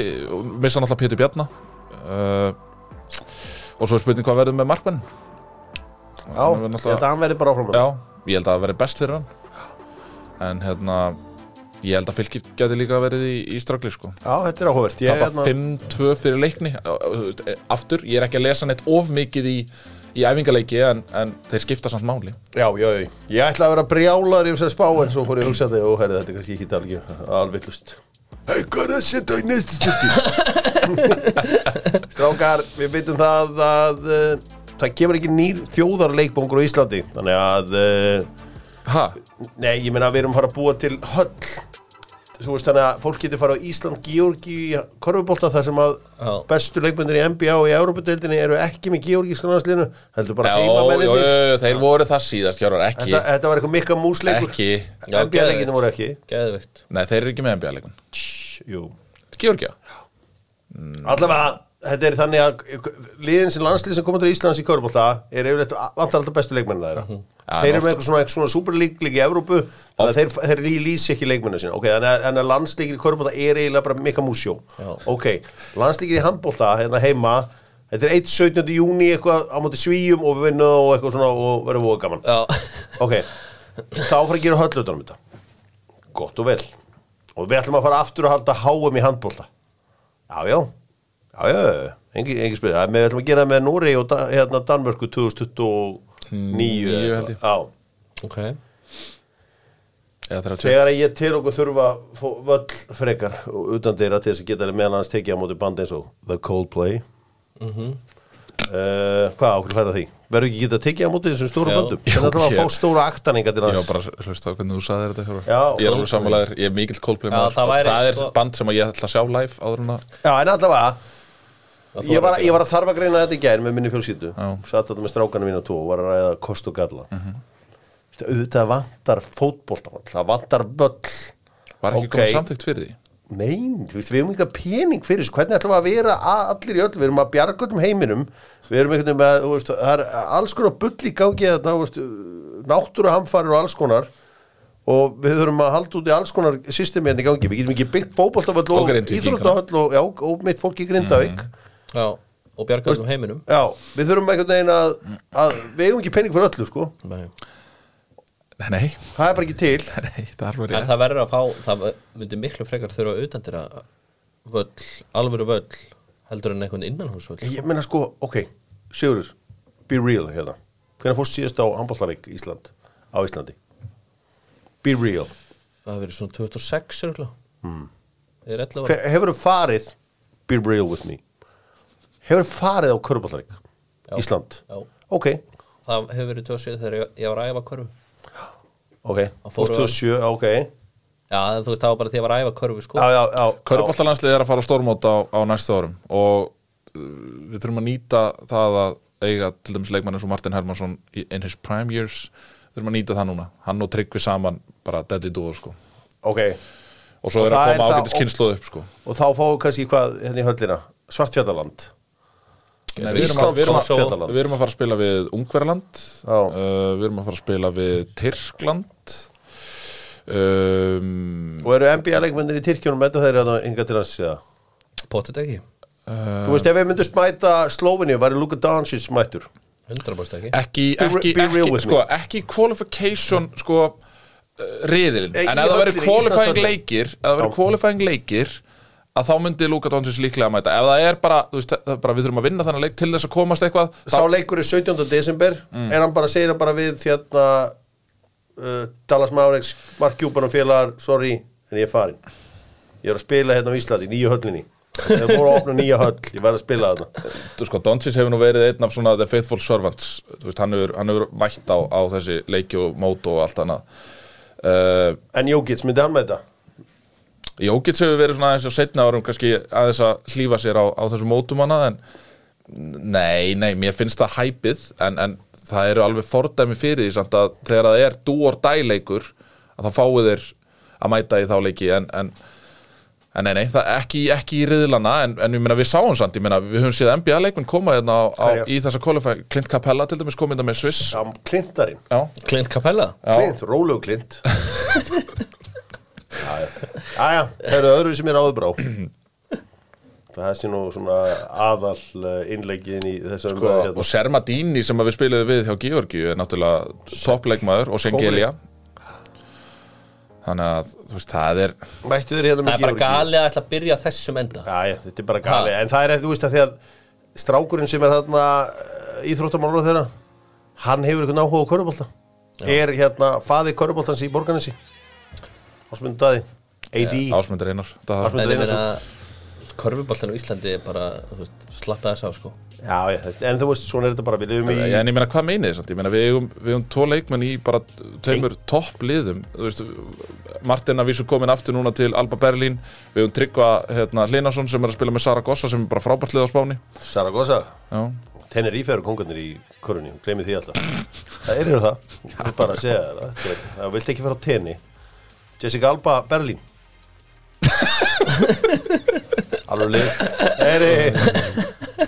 missa náttúrulega Pétur Bjarna uh, og svo er spurning hvað verður með Markmann
Já, ég held að hann verði bara áfram
Já, ég held að það verði best fyrir hann en hérna ég held að fylgir geti líka verið í, í stragli sko
Já, þetta er áhugavert Ég
tapa
hérna-
5-2 fyrir leikni Þú veist, e, aftur, ég er ekki að lesa neitt of mikið í, í æfingaleiki en, en þeir skipta samt máli
Já, já, já, ég ætla að vera brjálar yfir þess að spá en svo fór ég að hugsa þetta og herri þetta er kannski ekki alveg alvillust Hei, hvað er það að setja í næstu seti? Strákar, við veitum það að uh, það kemur ekki nýr þjóðarleikbóngur á Íslandi þannig að, uh,
ha,
nei, ég meina að við erum að fara að búa til höll þú veist þannig að fólk getur fara á Ísland, Georgi korfubólta þar sem að
Já.
bestu leikbundir í NBA og í Európa-deildinni eru ekki með Georgískan aðsliðinu, heldur bara
já, já,
heimamenninni
já, þeir voru það síðast hjárar, ekki,
Þetta, þetta var eitthvað mikka músleikur
ekki
Já,
NBA-leikinu
geðveikt.
voru ekki
geðvikt
nei, þeir eru ekki með NBA-leikun
Tss, Jú
Georgia,
Allavega, þetta er þannig að liðin sem landslið sem komur til Íslands í Körbólta er yfirleitt vantar alltaf bestu leikmennina þeirra
Já,
Þeir
en
eru með
oft-
eitthvað svona, eitthvað svona superlíklík í Evrópu þannig að þeir, þeir lýsi ekki leikmennina sína Ok, þannig að, en að landslíkir í Körbólta er eiginlega bara mikka músjó
Já.
Ok, landslíkir í handbólta hérna heima Þetta er 1.17. júni eitthvað á móti svíjum og við vinnum og eitthvað svona og verðum voga gaman
já
Ok, þá fara að gera höllutunum þetta Gott og vel Og við ætlum að fara aftur að halda háum í handbólta Já, já Já, já, já, engi, engi spil Það er- Við ætlum að gera það með Núri og da, hérna, Danmörku 2029
Hmm, Níu,
eða
held ég.
eitthvað. Já,
ok
eða þeir eru
þegar að ég til okkur þurfa að fá völl frekar og utan þeirra til þess að geta meðan hans tekið á móti bandi eins og The Coldplay
Mhm.
uh, Hvað ákveð hlæra því? Verður ekki geta tekið á móti þessum stóru
Já.
böndum?
Jú,
Þannig að það var að
ég-
fá stóra aktaninga til
Ég
hans
var bara að hlusta á hvernig þú saði þetta Hjörvar.
Já,
Ég er alveg samanlegaður, ég er mikill Coldplay
Já,
maður
það væri-
það er
sko-
band sem ég ætla að sjá live áður en að
Já, en allavega
Það
Ég var,
þorir
ég var að þarfa að greina þetta í gær með minni fjölskyldu
Já.
Satt þetta með strákana mína tvo og var að ræða kost og galla mm -hmm. Auðvitað vantar fótboltavall Það vantar völl
var ekki
Ok.
okay. komið samþygt fyrir því
Nein, þú veist, við erum ekki pening fyrir þessu, hvernig ætlum við að vera a- allir í öll, við erum að bjarga um heiminum, við erum einhvern veginn með, þú veist, það er alls konar bull í gangi þarna, þú veist, náttúruhamfarir og alls konar og við þurfum að halda út í alls konar systemi hérna í gangi, við getum ekki byggt fótboltaföll
Og
og
Grindvíkingana.
íþróttaföll og, já, og mitt fólk í Grindavík,
Já, og bjarga um heiminum
já, við þurfum einhvern veginn að, að við eigum ekki pening fyrir öllu, sko,
Nei.
Nei, nei,
það er bara ekki til,
nei, það er alveg
En
rétt
það verður að fá, það myndi miklu frekar þurfa auðvendir að völl, alvöru völl heldur en einhvern innanhúsvöll
ég meina sko, ok, Sigurður, be real hérna, hvernig fórst síðast á handbóltarík Ísland, á Íslandi? Be real.
Það hefur verið svona 2006 örgulega
Hmm.
mm. Það er 11 ára
Hver- Hefurðu farið, be real with me, hefurðu farið á körbóltarík
Já.
Ísland?
Já.
Ok,
Það hefur verið 2007 þegar ég, ég var að æfa körfu
ok, fórst
fóru á-
2007, ok, já,
Já, en þú veist, það var bara því að ég var að æfa körfu sko
já, já, já,
Körbáltalanslið er að fara á stórmót á, á næstu árum og uh, við þurfum að nýta það að eiga til dæmis leikmann eins og Martin Hermansson í- in his prime years þurfum að nýta það núna, hann og Tryggvi saman bara deadly duo sko
ok,
og svo
Og
er að
það er
koma
það-
ágætis kynsluð upp sko
og þá fáum við kannski hvað hérna í höllina, Svartfjallaland,
Við
Nei, við, erum að,
Ísland,
við, erum
Svartfjallaland.
að, við erum að fara að spila við Ungverland
Já.
uh, við erum að fara að spila við Tyrkland um,
og eru NBA-leikmennir í Tyrkjónum með þeir hérna inga til hans, já.
Pottet ekki,
Þú veist, ef við myndum smæta Slóvinni, væri Luka Doncic smættur.
100% ekki
ekki,
Be re-
ekki,
be real
ekki,
with
sko, ekki qualification sko, uh, riðilinn
Ekki
en ef það
í
verið
öllu, í
qualifying
Íslandsöllu.
leikir ef það verið
Já.
qualifying leikir að þá myndi Luka Doncic líklega að mæta ef það er bara, þú veist, það er bara við þurfum að vinna þannig leik til þess að komast eitthvað
Sá leikur er 17. desember en hann bara segir hann bara við þérna uh, Dallas Mavericks Mark Cuban og félagar, sorry en ég er farin ég er að spila hérna á Íslandi, í nýju höllinni ég voru að opna nýja höll, ég verð að spila þarna
Þú sko, Doncic hefur nú verið einn af svona the faithful servants, þú veist, hann hefur, hann hefur mætt á, á þessi leiki og mót og allt annað uh,
en Jókits, myndi hann með þetta?
Jókits hefur verið svona aðeins á setna árum kannski aðeins að hlýfa sér á, á þessu mótum hana en nei, nei, mér finnst það hæpið en, en það eru alveg fordæmi fyrir því samt að þegar það er dúor dæleikur að þá fáið þeir að mæta í þá leiki en, en, en nei, nei, það ekki, ekki í riðlana en, en ég meina við sáum samt, ég meina við höfum séð NBA leikmenn koma hérna á, á,
Hverja?
í þessa qualify Clint Capella til dæmis komið þetta með Swiss
Já, Klintarinn,
Já,
Clint Capella
já,
Klint, rólegu Klint Jæja, það eru öðru sem er áður brá það sé nú svona aðal eh, innleggiðin í hérna. þessum
sko, og Sermadini sem að við spilaði við hjá Georgiu er náttúrulega toppleikmaður og Sengelia þannig að þú veist, það er
mættu þér hérna
Það
með
er bara
Georgíu?
galið að ætla að byrja á þessum enda
Já, já, þetta er bara gali, en það er eftir, þú veist að því að strákurinn sem er þarna eh, íþróttamálar á þeirra, hann hefur eitthvað náhuga á körubólta, er hérna faði körubóltans í borganessi ásmundaði, AD
Ásmundur Einar það,
Ásmundur.
En ég
eins
meina Körfuboltan á Íslandi er bara þú veist, slappa þess á sko
já, já, þetta- en þú veist, svona er þetta bara, við lifum í
en ég meina hvað meinið þess ég meina við eigum, við eigum tvo leikmenn í bara tveimur toppliðum þú veist, Martin að vísu komin aftur núna til Alba Berlín, við eigum Tryggva hérna, Hlinason sem er að spila með Saragossa sem er bara frábært lið á Spáni
Saragossa,
Já.
Tenerife eru kongarnir í körunni, hún gleymið því alltaf það eru það, ég vil bara að segja þér það Þetta er- það vilt ekki fara á tenni Jessica Alba, Berlín alveg lið Eri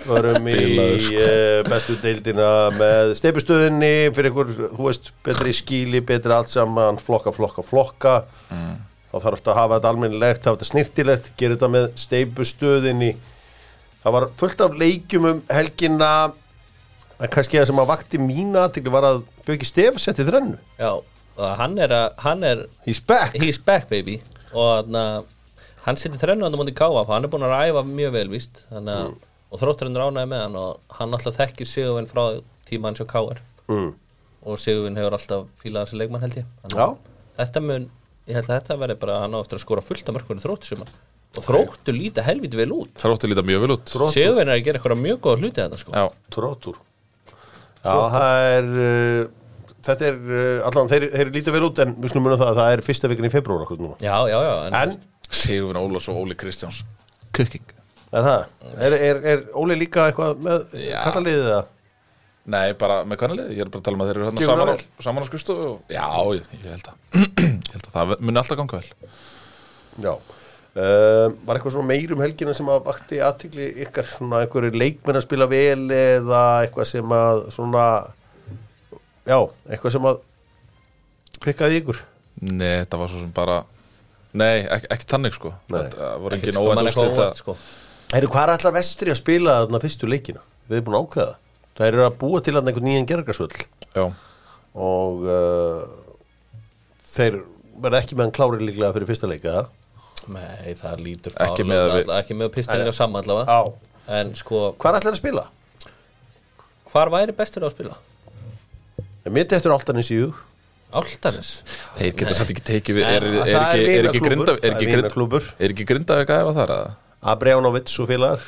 Förum í uh, bestu deildina með stefustöðinni fyrir ykkur, þú veist, betri skíli betri allt saman, flokka, flokka, flokka þá þarf alltaf að hafa þetta almennilegt hafa þetta snirtilegt, gera þetta með stefustöðinni það var fullt af leikjum um helgina en kannski það sem að vakti mína athygli var að Björki Stef setti þrennu
Já, og hann er, að, hann er
he's back
He's back baby Og hann, hann sittir þrennu hann mútið káfa Hann er búin að æfa mjög vel víst Þannig að Og þrótturinn ránaði með hann Og hann alltaf þekkir Sigurvin frá tíma hans og káar
mm.
Og Sigurvin hefur alltaf fílað þessi leikmann held ég Þannig
Já.
að Þetta mun Ég held að þetta verði bara Hann á eftir að skora fullt af mörkunni þróttur sem Og þróttur líta helviti vel út
það er ótti líta mjög vel út
Þróttur.
Sigurvin er að gera eitthvað mjög góða hluti þetta sko
Já.
Tróttur Já, það er uh, þetta er, uh, allan, þeir, þeir líta vel út en við slum muna það að það er fyrsta vikin í februar okkur núna
Já, já, já En,
En,
Sigurvin Ólafs og Óli Kristjáns Cooking
er það, er, er, er Óli líka eitthvað með
Já.
kallaliðið það?
Nei, bara með kannalið, ég er bara að tala um að þeir eru hérna
Gefur
saman,
það
á- saman á skrifstofu og... Já, ég, ég held að Ég held að það muni alltaf ganga vel
Já. Uh, var eitthvað svona meir um helgina sem að vakti aðtikli ykkar svona einhverju leikmenn að spila vel eða eitthvað sem að svona já, eitthvað sem að klikkaði í ykkur
Nei, þetta var svo sem bara Nei, ekki, ekki þannig sko
Nei.
Þetta
Ekkert
voru engin
sem kom manni
óvænt
eitthvað
úrslit
óvart,
að-
sko.
Heyrðu, hvað er allar vestri að spila þarna fyrstu leikina? Við erum búin að ákveða Það eru að búa til þarna einhvern nýjan gergarsvöll
Já,
og uh, þeir verða ekki meðan klári líklega fyrir fyrsta leika
Nei, það lítur
Ekki
fárlega
með að
út,
við-
alla- ekki með pistinni
Nei.
og saman allavega
Já
en sko,
Hvað er allar að spila?
hvar væri bestur á að spila?
Mitt eftir áltan í síu
Áltanis?
þeir geta satt ekki tekið við Er, er,
Það
er,
er
ekki, er ekki
vinaklúbbur.
grinda Er
Það er
ekki grinda,
vinaklúbbur.
er ekki grinda að gæfa þar að
Abrjánovits og félagar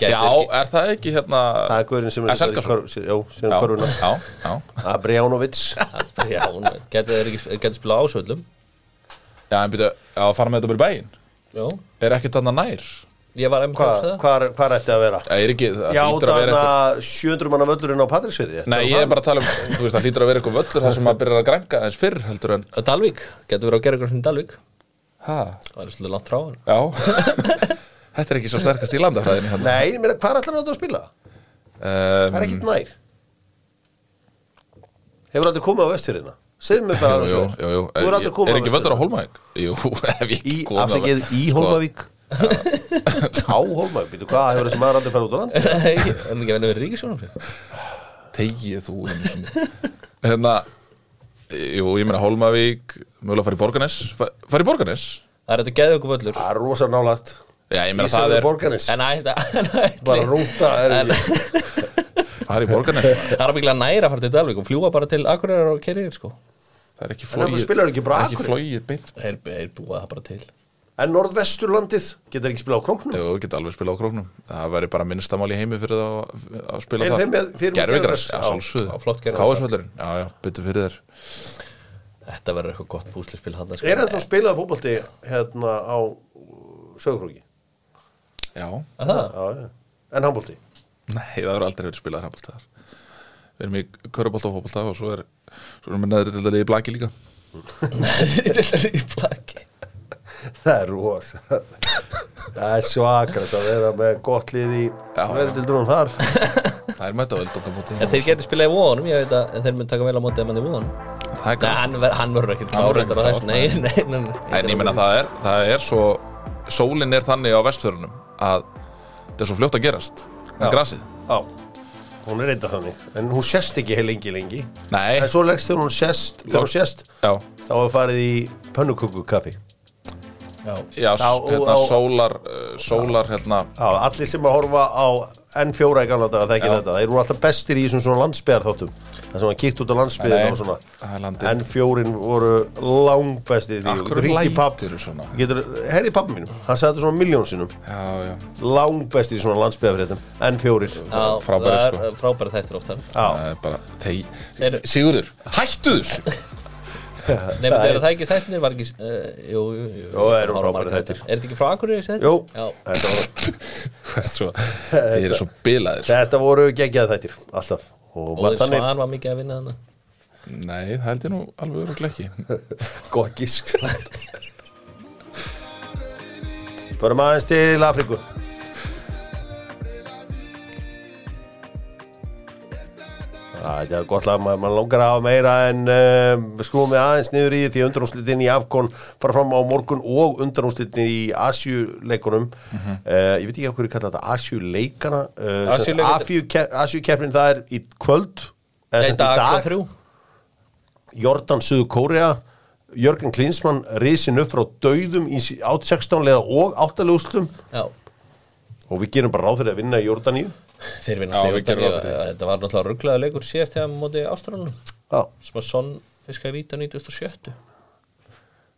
Já, er það ekki hérna
Það er guðurinn sem
Er
er
Selga svo?
síðan
Já,
korfuna
já, já,
Abrjánovits
Já, getur þeir ekki getur spila ásöldum
já, en byrja að fara með þetta bara í bæinn
Já,
Er ekkert þarna nær?
ég var einmitt að
Hvað
hugsa það
hva, hva ætti að vera?
Já, er ekki, það
Já,
hlýtur að vera
þarna
eitthvað
700 manna völlurinn á Patrísfyrði
Nei, ég er bara að tala um, þú veist, það hlýtur að vera eitthvað völlur þar sem maður byrjar að grænka eins fyrr heldur en
Dalvík, getur verið á gerðugrafinu Dalvík
Hæ?
Það er svolítið langt frá hann
Já Þetta er ekki svo sterkast í landafræðinni hérna.
Nei, ég meina, hvað ætlar þetta að spila? Það er
um,
ekkert nær Hefur aldrei komið á vestfyrðina Segðu mér bara alveg
Jú, jú,
svo
jú, jú.
Þú er aldrei
Er-
komið
Er ekki völdur á Hólmavík? Jú, ef ég
Í,
ekki kom
afsakið,
alveg.
í
Sko,
Hólmavík Á Hólmavík, býtu hvað hefur þessi maður aldrei farið út á land
Nei, en ekki að vinna við Ríkisjónum
Þegið þú einu sinni. Hérna Jú, ég meina Hólmavík Mögulega fara í Borganes Fara í Borganes?
Það er þetta geðið okkur völlur
Það er rosa nálægt
Já, ég meina það
Ísafjörður
er
Borganes
En ætla, en ætli-
Bara rúta er
Fara í Borganes
það er mikilvæg næra að fara til Dalvík og fljúa bara til Akureyrar og Kerið sko.
Það er ekki
En af hverju
flóið
spilarðu ekki bara
það er ekki
Akureyri?
flóið beint
Þeir þeir búa það bara til
En norðvesturlandið getur ekki spilað á króknum
Jú, geta alveg spilað á króknum Það væri bara minnstamál í heimi fyrir það að- að spila
Er
það
þeim með- þeir eru með
Gervigras,
gervigras?
já,
Já,
já,
sálsöðu
flott gervigras.
Káasvöllurinn, já, já, byttu fyrir þér
Þetta verður eitthvað gott búslispil hann sko.
Er það þá spilað fótbolti hérna á sögurkróki?
Já,
Er það?
Já, já. En handbolti?
nei, það verður aldrei verið spilað hrampalt þar Við erum í körubólta og fótbolta og svo er Svo erum við neðri til í blaki líka
Þetta er í plaki
Það er rosa Það er svakrætt að vera með gott lið í
Já, já.
veldildrunum þar
Það er mæta á öldungamóti
En þeir getur spilað í vonum, ég veit að en þeir mun taka vel á mótið að mann í von
Það er
Nei,
gæst
hann, ver, hann verður ekkert
Hann
klár
verður
þetta á
ekkert
þessu,
klár,
nei, nei, nei, nei,
En ég meina það er, það er svo Sólin er þannig á vestfjörunum að þetta er svo fljótt að gerast
Já.
En grasið
Já, hún er reynda þannig En hún sést ekki heil lengi lengi
Nei,
En svo leggst þegar hún sést, þegar hún sést
já,
Þá er farið í pönnukökukaffi
Já,
já, s-
Á-
hérna
á-
sólar uh, Sólar, hérna
Já, allir sem að horfa á N4 í gamla daga þekkir
Já.
þetta Þeir eru alltaf bestir í þessum svona landsbyðar þáttum Það sem var kíkt út á
Nei,
landsbyðin og
það er
svona
landið.
N4 voru langbestir í því
Af
Þú
hverju
getur hringt í pabb-
læturðu svona?
Þú Getur, herri pappa mínum, hann sagði þetta svona miljón sinnum
Já, já
Langbestir í svona landsbyðafréttum N4
Já,
Frábæri,
það
sko.
er frábæri þættir oft hann
Já.
Það er bara, þeir
Þeir-
Sigurður, hættu þessu
Nei, menn þegar það ekki þættir var ekki uh, Jú, jú, jú
Jó, það eru
Það var
frábærir
margir
þættir.
Er þetta ekki frá Akureyri þessi þættir?
Jú,
Já,
þetta var
Hvað er svo- Þeir eru svo bilaðir sko.
Þetta voru geggjað þættir, alltaf Og
og
var
þeir
þannig
svan var mikið að vinna þarna
Nei, það held ég nú alveg örugglega ekki
gott gísk Förum aðeins til Afríku Ah, Þetta er gott lag, maður man langar að hafa meira en um, skrúum við aðeins niður í því undanúslitin í Afkon fara fram á morgun og undanúslitin í Asjuleikunum uh, Ég veit ekki af hverju kalla þetta Asjuleikana
Asíuleikarnir-
uh, Asjukeppnin það er í kvöld eða
Nei,
sem sagt í
dag klukkan þrjú.
Jordan Suðu Kórea Jörgen Klinsmann risin upp frá dauðum í sí- át 16 leða og 8 leðuslum
Já,
og við gerum bara ráð fyrir að vinna í Jordaníu
þeir
Já,
vinna
við
slegjóttan
gerum ráð fyrir því.
Þetta var náttúrulega rugglaða leikur síðast hefða móti Ástralunum
Já,
sem að sonn fiskaði víta 1907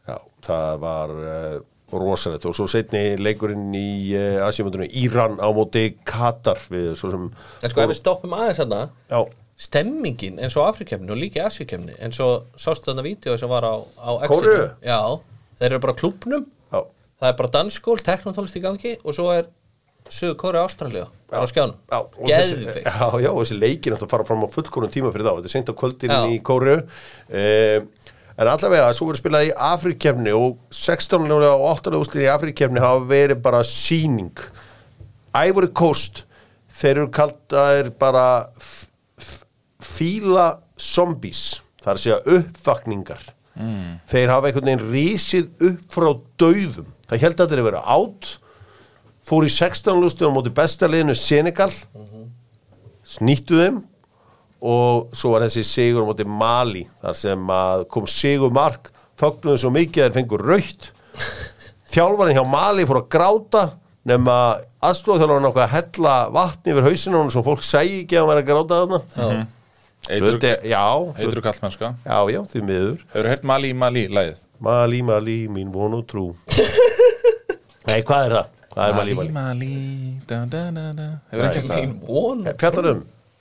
já það var uh, rosalegt og svo setni leikurinn í uh, Asíumundunum Íran á móti Katar við svo sem
En sko, ef við stoppum aðeins þarna
Já,
stemmingin eins og Afrikefni og líka Asíkefni eins og sástu þarna vídeo sem var á, á Exinu.
Kóreu?
Já, þeir eru bara klubnum
já,
það er bara dansskól, teknotólist í gangi og svo er Suður Kóri Ástralja á skjánum,
já, og þessi-
geðvikt
já, já, og þessi leikin átti að fara fram á fullkonum tíma fyrir þá, þetta er seint á kvöldin
Já.
í Kóru uh, en allavega svo voru spilað í Afrikkefni og 16 ljóðlega og 8 ljóðslir í Afrikkefni hafa verið bara síning Ivory Coast þeir eru kaldaðir bara f- f- fíla zombies það er að segja uppvakningar mm. þeir hafa einhvern veginn rísið upp frá dauðum það held að þeir eru verið átt fór í 16 ljóðslir á móti besta liðinu Senegal snýttu þeim og svo var þessi sigur á móti Mali þar sem að kom sigur mark fögnuðu svo mikið að þeir fengur raukt þjálfarinn hjá Mali fór að gráta nema aðstofþjálfarinn ákvað að hella vatni yfir hausinu hann svo fólk segi ekki að hann væri að gráta þarna
Eitru,
Þetta- já,
eitru kallmennska
já, já, því miður
Hefur heyrt Mali í Mali lægið?
Mali, Mali, mín von og trú Nei, hvað er það? Hvað er Mali, Mali?
Mali da, da, da, da. Hefur ekki heyrt það?
Mín von
Fjallar um,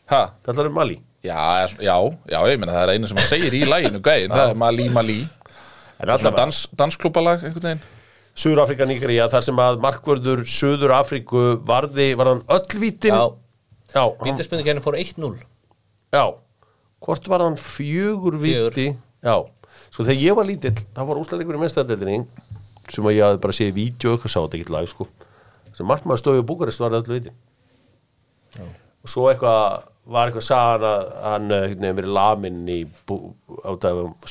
Ha?
fjallar um Mali
Já, er svona- já, já, ég meina það er einu sem hann segir í læginu gæðin, það er Mali Mali
En
Svona
allavega,
dans, dansklúbalag einhvern veginn
Suður-Afrika Níkaríja þar sem að markvörður Suður-Afríku varði, varðan öllvítin
Já,
já, hann,
vítaspinningenni fór 1-0
já Hvort varðan fjögur víti Já, sko þegar ég var lítill það var úsleikur í mestadeldinni sem að ég hafði bara séð í vídeo og eitthvað sá þetta ekki live sko sem markmaður stöðu búkarist varði öllvítin já. og svo eitthvað var eitthvað sagan að hann nefnir verið laminn í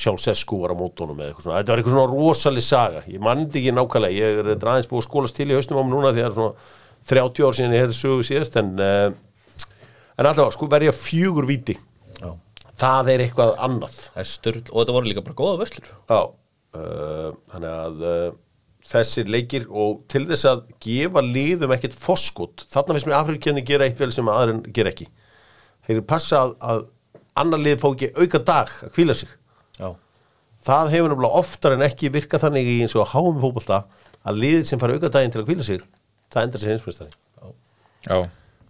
sjálfsessku var á mótónum eða eitthvað svona þetta var eitthvað svona rosaleg saga ég mannði ekki nákvæmlega, ég er þetta aðeins búið að skólast til í haustum á mig núna því það er svona 30 ár síðan ég hefði sögu síðast en, eh, en allavega sko verja fjögur viti
Já.
það er eitthvað annað
Það er styrl og þetta voru líka bara góða vöslur
Já, uh, þannig að uh, þessir leikir og til þess að gefa liðum ekkert foskot, þarna finnst mér Afrikkenni gera eitt vel sem aðrin gera ekki. Þeir passa að, að annar lið fá ekki auka dag að hvíla sig.
Já,
Það hefur nefnilega oftar en ekki virka þannig í eins og háum fótbolta að liðið sem fara auka daginn til að hvíla sig, það endar sér hinsmjöstaði.
Já,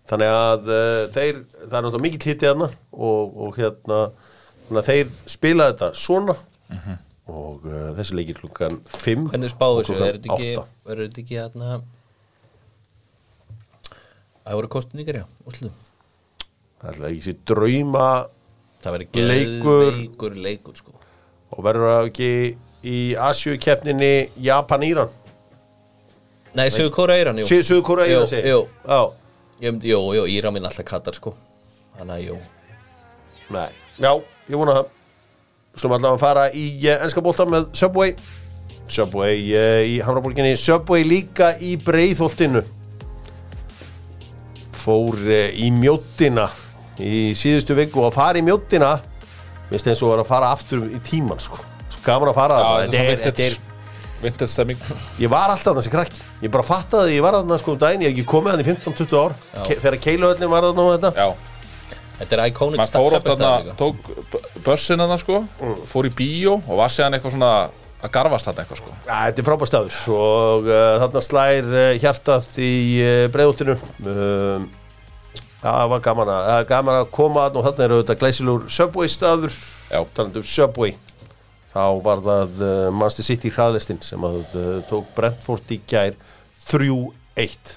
Þannig að uh, þeir, það er náttúrulega mikill hitið hérna og, og hérna, þannig að þeir spila þetta svona og uh, þessi leikir klukkan 5
Mhm. hvernig
og
spáðu þessu,
klukkan
er þetta ekki,
átta.
er þetta ekki hérna Það voru kostið nýgerja, úrslutum
Það er alltaf ekki sér drauma
Það verður
Leikur.
leikur, leikur sko
og verður það ekki í Asjökeppninni Japan-Íran
Nei, sögur Kóra Íran, jú
Suður Kóra Íran
Jú,
segir
Jú,
Já,
Ég myndi- jú, jú, Íran minn alltaf Katar sko Þannig að jú
nei, já, ég vona það Slum allavega að fara í uh, ennska bólta með Subway Subway uh, í Hamrabólginni Subway líka í Breiðholtinu fór eh, í mjóttina í síðustu viku og að fara í mjóttina minnst eins og var að fara aftur í tíman sko. Svo gaman að fara þarna.
já þetta er
Þetta er- þetta er-
svona vintage stemming
Ég var alltaf þarna sem krakki Ég bara fattaði að ég var þarna sko um daginn Ég hef ekki komið þarna í 15-20 ár Ke Þegar keiluhöllin var þarna og þetta
Já,
Þetta er iconic
maður fór oft
staðfestaður
þarna,
líka.
tók börsin þarna sko, fór í bíó og var séðan eitthvað svona að garfast þarna eitthvað sko
Æ, Þetta er frábær staður Og uh, þarna slær uh, hjartað í uh, breiðultinu um, Það var gaman að, það er gaman að koma þarna Og þarna eru þetta glæsilur Subway staður
Já.
Talandi um Subway Þá var það uh, Manchester City hraðlistin Sem að uh, tók Brentford í gær 3-1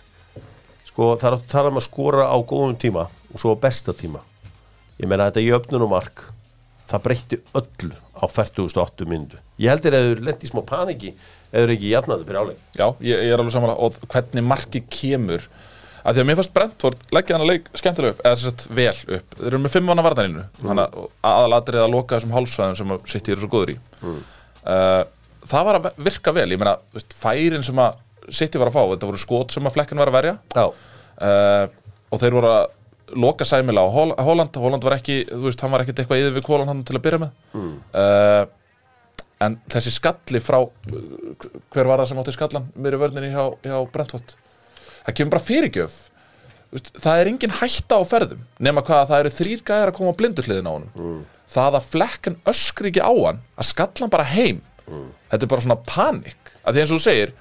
Sko það er að tala um að skora á góðum tíma Og svo á besta tíma Ég meina þetta í öfnun og mark Það breytti öllu á 40.8 myndu Ég heldur að þau lendi í smá paniki Eður ekki jafnaði fyrir áleik
Já, ég, ég er alveg samanlega og hvernig marki kemur að því að mér fannst Brentford leggja hann að leik skemmtilega upp, eða sett vel upp þeir eru með fimm vana varðaninu þannig að aðalatrið að loka þessum hálsvæðum sem sitt eru svo góður í uh, það var að virka vel, ég meina þú veist, færin sem að City var að fá, þetta voru skot sem að flekkinn var að verja
Já,
uh, og þeir voru að loka sæmila á Hol- Holland Holland var ekki, þú veist, hann var ekkert eitthvað yfir við Holland hann til að byrja með mm. en þessi skalli frá hver var það sem átti skallan mér í vörninni hjá, hjá Brentford það kemur bara fyrirgjöf Þú veist, það er engin hætta á ferðum nema hvað að það eru þrýr gæðar að koma á blindurliðin á honum það að flekkan öskri ekki á hann að skalla hann bara heim þetta er bara svona panik að því eins og þú segir,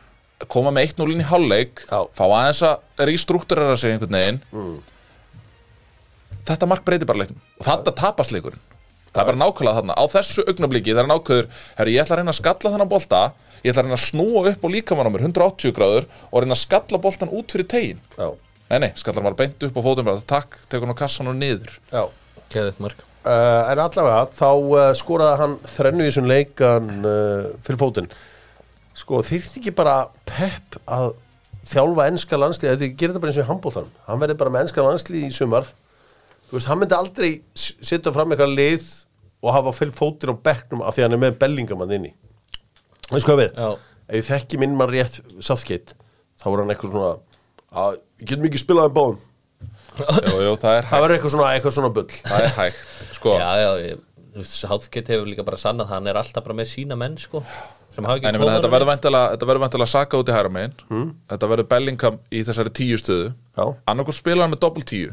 koma með 1-0 inn í hálfleik
Já.
fá aðeins að rístruktúrera sig einhvern veginn þetta mark breytir bara leiknum og þetta tapast leikurinn það er bara nákvæmlega þarna, á þessu augnabliki það er nákvæður, herru ég ætla að reyna að skalla þennan bolta ég ætla að reyna að snúa upp á líkamann á mér 180 gráður og reyna að skalla boltan út fyrir tegin
já,
Nei, nei, skallar bara beint upp á fótum bara takk, tekur hann á kassan og niður
já
Geðið mark
Sko.
uh, en allavega þá uh, skoraði hann þrennu í þessum leikan uh, fyrir fótinn sko þyrfti ekki bara Pep að þjálfa ennska landslið þetta gerir þetta bara eins og í handbóltan hann verði bara með ennska landslið í sumar þú veist, hann myndi aldrei s- setja fram eitthvað lið og hafa fyrir fótinn á bekknum af því að hann er með bellingamann inni veist hvað við
Já.
ef ég þekki minn mann rétt sáttgeitt þá var hann eitthvað svona "Ah, að, við getum ekki spilað um báðum
Jú, jú, það er hægt,
það var eitthvað svona, eitthvað svona bull
það er hægt Sko,
Já, já, ég, þú veist, Southgate hefur líka bara sannað það, hann er alltaf bara með sína menn, sko sem hafa ekki
en ég meina þetta
honum.
verður væntalega þetta verður væntalega saka út í hæra megin Þetta verður Bellingham í þessari tíu stöðu
Hmm. Já.
Annarkvort spila hann með doppel tíu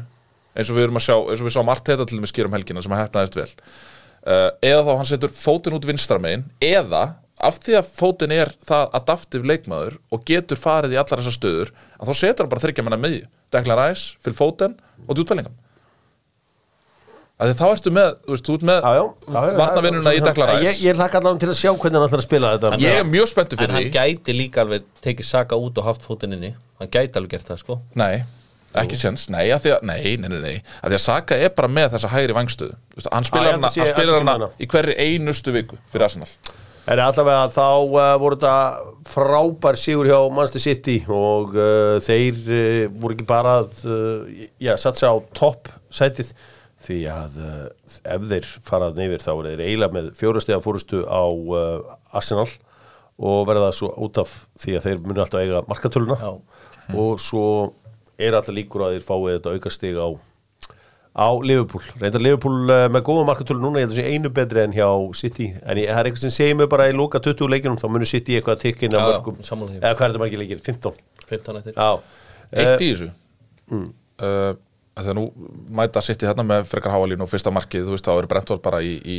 eins og við erum að sjá, eins og við sáum allt þetta til með skýrum helgina sem að hefnaðist vel uh, eða þá hann setur fótinn út vinstra megin eða af því að fótinn er það adaptiv leikmaður og getur farið í allar þessar stöður að þá setur hann bara þryggja manna með Declan Rice, Phil Foden og Jude Bellingham að því þá ertu með, þú veist, þú ert með
Já, já, já, já,
varnavinnuna
já,
í
já.
Declan Rice
Ég, ég hlakka allan til að sjá hvernig hann ætlar að spila þetta
Ég er mjög spenntur
En
fyrir
hann
því
gæti líka alveg tekið saka út og haft fótinn inni Hann gæti alveg gert það, sko
Nei, ekki séns, nei, að því að Nei, nei, nei, nei, að því að Saka er bara með þessa hægri vangstöðu Þú veist, Hann
ég
spilar
held
hana,
að sé-
hann
held að
spilar
sé með
hana
hana.
í hverri einustu viku fyrir Arsenal
eh, En allavega þá uh, voru þetta frábær sigur hjá Manchester City og uh, þeir uh, voru ekki bara að uh, já, satsa á topp sætið því að uh, ef þeir farað neyfir þá voru þeir eiginlega með fjórastega fórustu á uh, Arsenal og verða svo út af því að þeir muni alltaf eiga markatöluna
Já.
og svo er alltaf líkur að þeir fái þetta aukastig á á Liverpool, reyndar Liverpool eh, með góða markatölu núna, ég held að sé einu betri en hjá City, en ég, það er eitthvað sem segir mig bara í lóka 20 leikinum, þá munur City eitthvað að tikka inn
Já,
að
já,
mörgum,
sammála því.
eða hvað er þetta margir leikir, 15
15 eftir
já, Eh,
Eitt í þessu
mm.
uh, Þegar nú mæta sitt í þarna með frekar háalínu og fyrsta markið, þú veist, þá eru Brentford bara í, í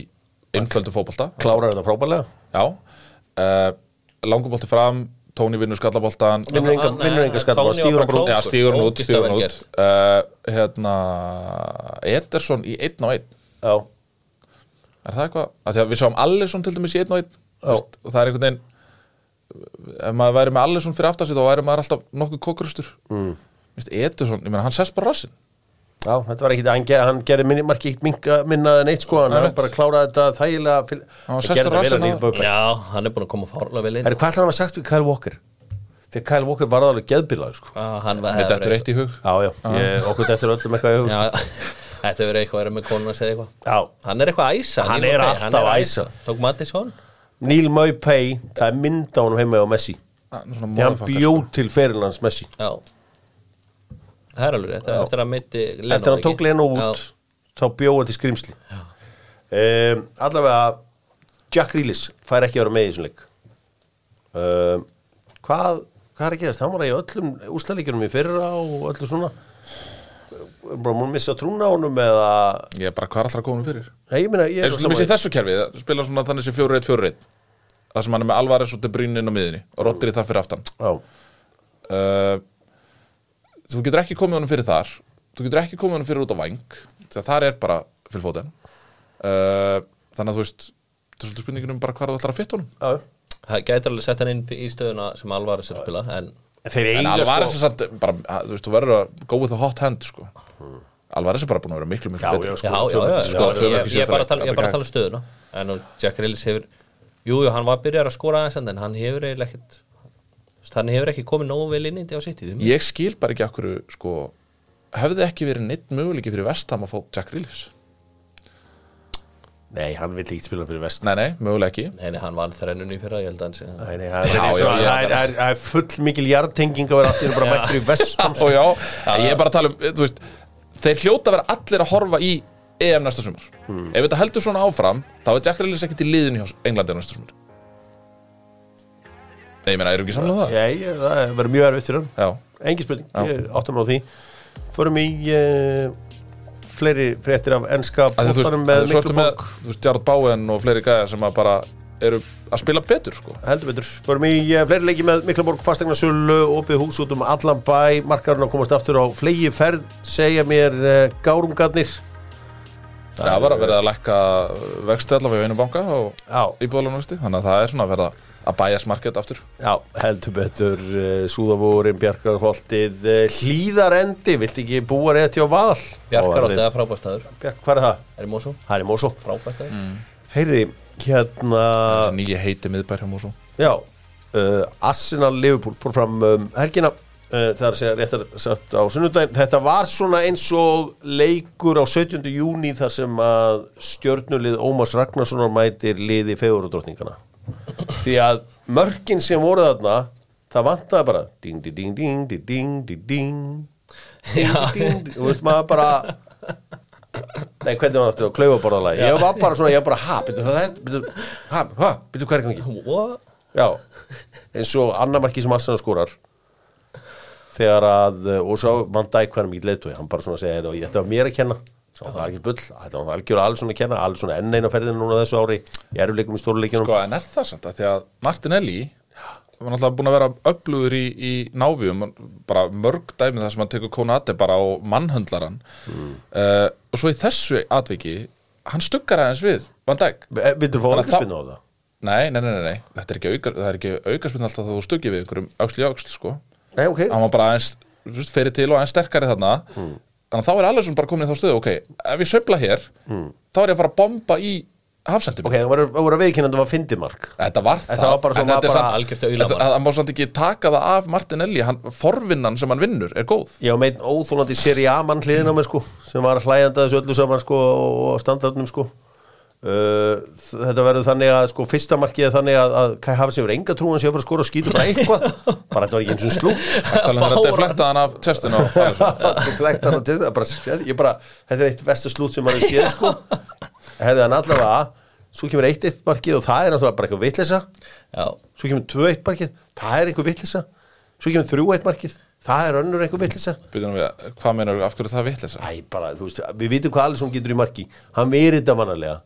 innföldu fótbolta
klárar þetta frábælega
Já, uh, langubolti fram Tóni vinnur skallaboltan
Vinnur enga-
Hann-
vinnur enga skalla,
Tóni var
stígur hann bara út.
klókur.
Já, stígur hann út,
Ógeðslega
stígur hann
vel
út
gert.
uh, Hérna Ederson í einn á einn
já,
Er það eitthvað? Af því að við sáum Allison til dæmis í einn og einn
Já.
veist, og það er einhvern veginn ef maður væri með Allison fyrir aftan sig þá væri maður alltaf nokkuð kokkrustur mm. Edison, ég meina hann sest bara rassinn
já, þetta var ekki, hann, ger, hann gerði minni, margir eitt minka, minna en eitt sko, hann,
Nei,
hann
mitt.
bara kláraði þetta þægilega, fyl-
Hann var
Hann
sestur
gerði
á
þetta vel
rassinn
að
á-
nýja böpa
Já, hann er búin að koma fárlega vel inn
er hvað ætlar hann að sagt við Kyle Walker þegar Kyle Walker var alveg geðbilað sko.
ah, Hann var
Þetta er eitt í hug
já, já, ég, okkur þetta er öllum eitthvað í hug.
Já, þetta verður eitthvað að vera með konuna að segja eitthvað
já,
Hann er eitthvað að æsa
Hann
Neil
er
Mopey,
alltaf að æsa.
Tók Mattisson
Neil Maupay, það er mynd á honum heima á Messi
Ah,
því hann
sko.
bjó til ferilans Messi
Já Það er alveg rétt, það er eftir að meiti Leno
eftir hann
ekki?
tók Leno út
Já.
þá bjóða til skrimsli um, allavega Jack Reelis fær ekki að vera með í þessum leik um, hvað hvað er að gerast, hann var í öllum úslæðleikunum í fyrra og öllu svona Er bara múin missa trúna á honum eða,
Ég er bara hvað er alltaf komin fyrir
nei ég meina ég
Eins og til dæmis í
saman-
þessu kerfi, það spila svona þannig sem 4-1-4-1 Það sem hann er með Alvarez og De Bruyne inn á miðinni og Rodri þar fyrir aftan
já,
uh, Þú getur ekki komið honum fyrir þar Þú getur ekki komið honum fyrir út á væng Þegar þar er bara fyrir fótinn uh, Þannig að þú veist Það er svolítið spurningin um bara hvað þú ætlar að fitta honum
já.
Það gæti alveg sett hann inn í stöðuna sem Alvarez er að spila en
En þeir
En
eiga
Alvarez
sko,
er samt bara, að, Þú veist, þú verður að go with a hot hand sko. Alvarez er bara búin að vera miklu, miklu
Já,
betri
já,
Já,
sko.
já, já, já,
Skoða tvö
já,
mörk í
ég, ég,
síðasta
er bara
leik,
að tala, ég er bara
Abdelkader.
að tala um stöðuna en og Jack Reelis hefur jú, jú, hann var að byrja að skora aðeins en hann hefur eiginlega ekkit hann hefur ekki komið nógu vel inn í þetta á sitt í
Ég skil bara ekki okkur sko, Hefði ekki verið neitt möguleiki fyrir vestam að fá Jack Reelis
nei, hann vill ekki spila fyrir vest
Nei, nei, mögulega ekki
Nei, hann vann þrennun í fyrra, ég held að hann sé
Nei, nei, það er
Já,
eins
já,
og að
já,
það er- það er- það er full mikil jartenging að vera allir bara mættur í vestam
Og já, ég er bara að tala um þú veist, Þeir hljóta að vera allir að horfa í EM næsta sumar Ef þetta heldur svona áfram Þá er Jack Reelis ekkert í liðinu hjá Englandi næsta sumar Nei, ég meina, eru ekki samlega það?
Já, ég- það verður mjög erfitt fyrir hann
Já,
Engi spurning,
Já.
ég áttum á því Förum í uh, fleiri fréttir af ennska
að þú veist,
bóttanum
með
með
svo ertu
miklu
með
bók
þú veist, Jarrod Bowen og fleiri gæðar sem að bara eru að spila betur sko
heldur betur, förum í eh, fleiri leiki með Miklaborg fastegnarsölu, opið hús út um allan bæ, eh, markarinn að komast aftur á flegi ferð, segja mér uh, gárumgarnir
það var að vera að lækka vexti allavega í einu banka og
Já.
íbúðalunarvexti þannig að það er svona að verða að bæjast market aftur
Já, heldur betur uh, Súðavúrin, Bjarkarholtið uh, Hlíðarendi, vilt ekki búa rétt hjá Val?
Bjarkar alltaf frábæstaður
Bjark, hvað er það?
Er í Mosó,
Það er í Mósó
frábæstaður mm.
Heyri, hérna
nýja heiti miðbær hjá Músum
Já, uh, Arsenal Liverpool fór fram um, helgina uh, það er að segja réttar sagt á sunnudaginn þetta var svona eins og leikur á 17. júni þar sem að stjörnulið Ómas Ragnarssonar mætir liði fegurudrottningana því að mörkin sem voru þarna það vantaði bara ding, ding, ding, ding, ding, ding, ding, ding, ding, ding, þú veist maður bara Nei, hvernig var þetta á klaufaborðalagi? Ég var bara svona, ég var bara, ha, byrju, það er, byrju, ha, ha, byrju, hvað er ekki? Já, eins og annar marki sem Arsenal skórar þegar að eh, og svo mann dæk hvernig mikið leitu um hann bara svona segir, "Heyrðu, þetta var mér að kenna svo það var ekki bull, þetta var algjör alveg svona að kenna alveg svona enn eina ferðinu núna þessu ári í eruleikum í stóruleikinum
Sko, en er það samt að því að Martinelli var náttúrulega búin að vera öflugur í, í návíum, bara mörg dæmi þar sem hann tekur Konate bara og mannhöndlar hann uh, og svo í þessu atviki, hann stuggar aðeins við Van Dijk
Eh, Vindur fóðu
Þannig
ekki
að
spynna á það?
Nei, nei, nei, nei, nei. þetta er ekki auka, það er ekki aukaspinn alltaf þú stuggir við einhverjum öxl í öxl, sko
Nei, ok,
hann var bara aðeins, þú veist, fyrir til og aðeins sterkari þarna þannig að þá er alveg svona bara komin í þá stöðu ok, ef ég sveifla hér þá er ég að fara að bomba í hafsendum
ok, það voru- það voru að veikinn en það var fyndimark
Þetta var það
Þetta var bara svona-
en þetta er
bara
samt-
algjört auðlamál.
Þetta- Það má samt ekki taka það af Martinelli hann, Forvinnan sem hann vinnur er góð
Ég á meitt óþólandi seri A-mann hliðin á mig sko sem var hlægjandi að þessu öllu saman sko og standardnum sko Uh, þetta verður þannig að sko fyrsta markið er þannig að, að Kai Havertz hefur enga trúan sér að fara að skora og skýtur bara eitthvað bara þetta var ekki eins og slútt
Þannig að um þetta er flektað hann af testinu og
Þú flækt hann og til- það er bara, ég bara þetta er eitt vestu slútt sem maður hefur séð sko herðið hann allavega svo kemur eitt eitt markið og það er náttúrulega bara eitthvað vitleysa
Já,
svo kemur tvö eitt markið, það er eitthvað vitleysa svo kemur þrjú eitt markið, það er önnur eitthvað vitleysa
Býtum við, hvað meinar af hverju er það vitleisa?
Æ, bara, þú veist, við vitum hvað Alisson getur í marki Hann verið þetta mannalega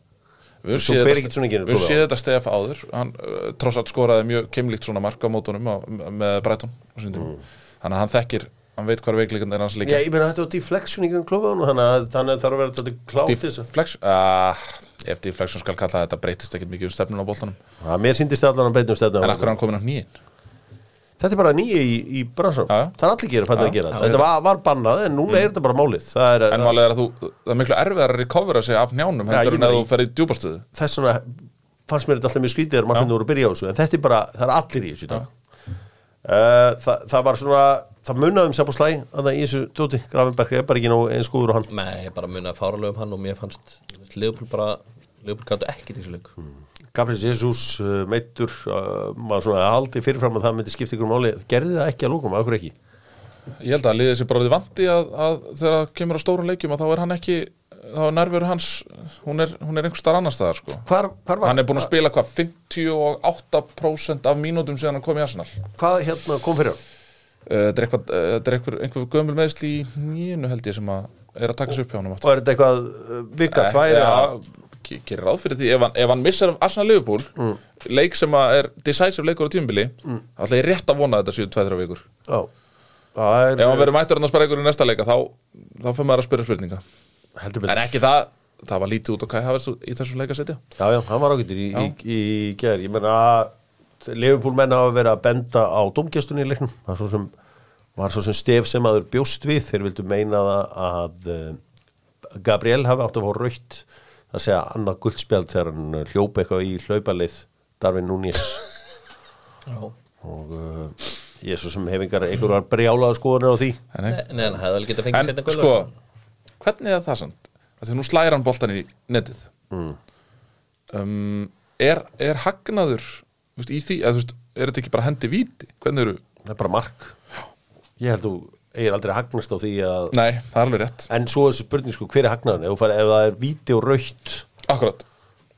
Við
Svo fer ekkert svona ekki inn í
höfum
prófið.
séð þetta stef áður hann uh, trossat skoraði mjög keimlíkt svona marka á mótunum á, með Breitón mm. Þannig að hann þekkir, hann veit hvað veikleikann er hans
Já,
líka
ég meina þetta var deflection í grunn klófun Þannig að þannig að það þarf að vera þetta klátt til þess að-
Deflection uh, Ef deflection skal kalla það, þetta breytist ekkert mikið um stefnun á boltanum
Já, Mér síndist allan að beitnum stefna
En akkur er hann komin á hnýin?
Þetta er bara nýja í, í bransan
Já, já.
Það er allir gerir fættir að
Já,
gera
já,
Þetta var, var bannað en núna er þetta bara Mm. málið Það er
En málið er að þú, það er miklu erfiðar að recovera sig af njánum
Já, ég
heldur en
meina
að þú
í-
ferð í djúbastöðu
þess vegna fannst mér þetta alltaf mjög skrítið þegar markmennir voru að byrja á þessu en þetta er bara, það er allir í þessu í dag uh, það, það var svona það um munnaðum sem búið slæ að það í þessu dóti Gravenberg er bara ekki nóg eins góður og hann
nei, ég bara munið fáralega um hann og mér fannst Leopold bara, Leopold gáttu ekkert í þessu leik
Gabriel Jesus uh, meittur, uh, maður svona aldrei fyrirfram að það myndi skipta ykkur máli, gerði það ekki að lókum, okkur ekki
Ég held að liðið sér bara við vandi að, að þegar það kemur á stórum leikjum að þá er hann ekki þá er nærveru hans, hún er, hún er einhver starf annar staðar sko
Hvar, hvar var,
Hann er búin að spila hvað, 58% af mínútum síðan hann kom í Arsenal uh,
hvað hérna kom fyrir hann?
Þetta er eitthvað- eh, þetta er einhver, einhver gömul meðsli í nýjunu held ég sem að er að taka sér upp hjá hann
Og er þetta eitthvað uh, vika,
Eh,
tvær eða
ja, gerir ráð fyrir því ef hann, ef hann missar af Arsenal Liverpool
Mm.
leik sem að er decisive leikur á tímubili mm. alltaf ég rétt að vona að þetta séu 2-3 vikur
Já, það er
ef hann verður mættur hann að spara ykkur í næsta leika þá, þá fyrir maður að spyrja spurninga
heldur
en
betur
ekki það, það var lítið út á Kai Havertz í þessum leika setja
Já, já, hann var ágættur í, í, í, í gær ég menna að Leifupúl menn hafa verið að benda á domgjastunni í leiknum það er svo sem, var svo sem stef sem aður bjóst við þeir vildu meina það að uh, Gabriel hafi átt að fá raukt að segja annað guldspjald þegar hann uh, hljóp eitthvað í hlaupaleið Darvin Núnes
Já
og uh, ég svo sem hef engar einhverjar brjálaða skoðanir á því
en,
Nei, nei, hann hefði alveg getað fengið
en
setna
sko, hvernig er það samt Af því að nú slæra hann boltan í netið
Mm.
um, er, er hagnaður þú veist, í því, eða, þú veist, er þetta ekki bara hendi víti hvernig eru,
það er bara mark ég held þú eigir aldrei að hagnast á því að
nei, það er alveg rétt
en svo er þessi spurning sko hver er hagnaðan ef, þú færð- ef það er víti og raukt
akkurat,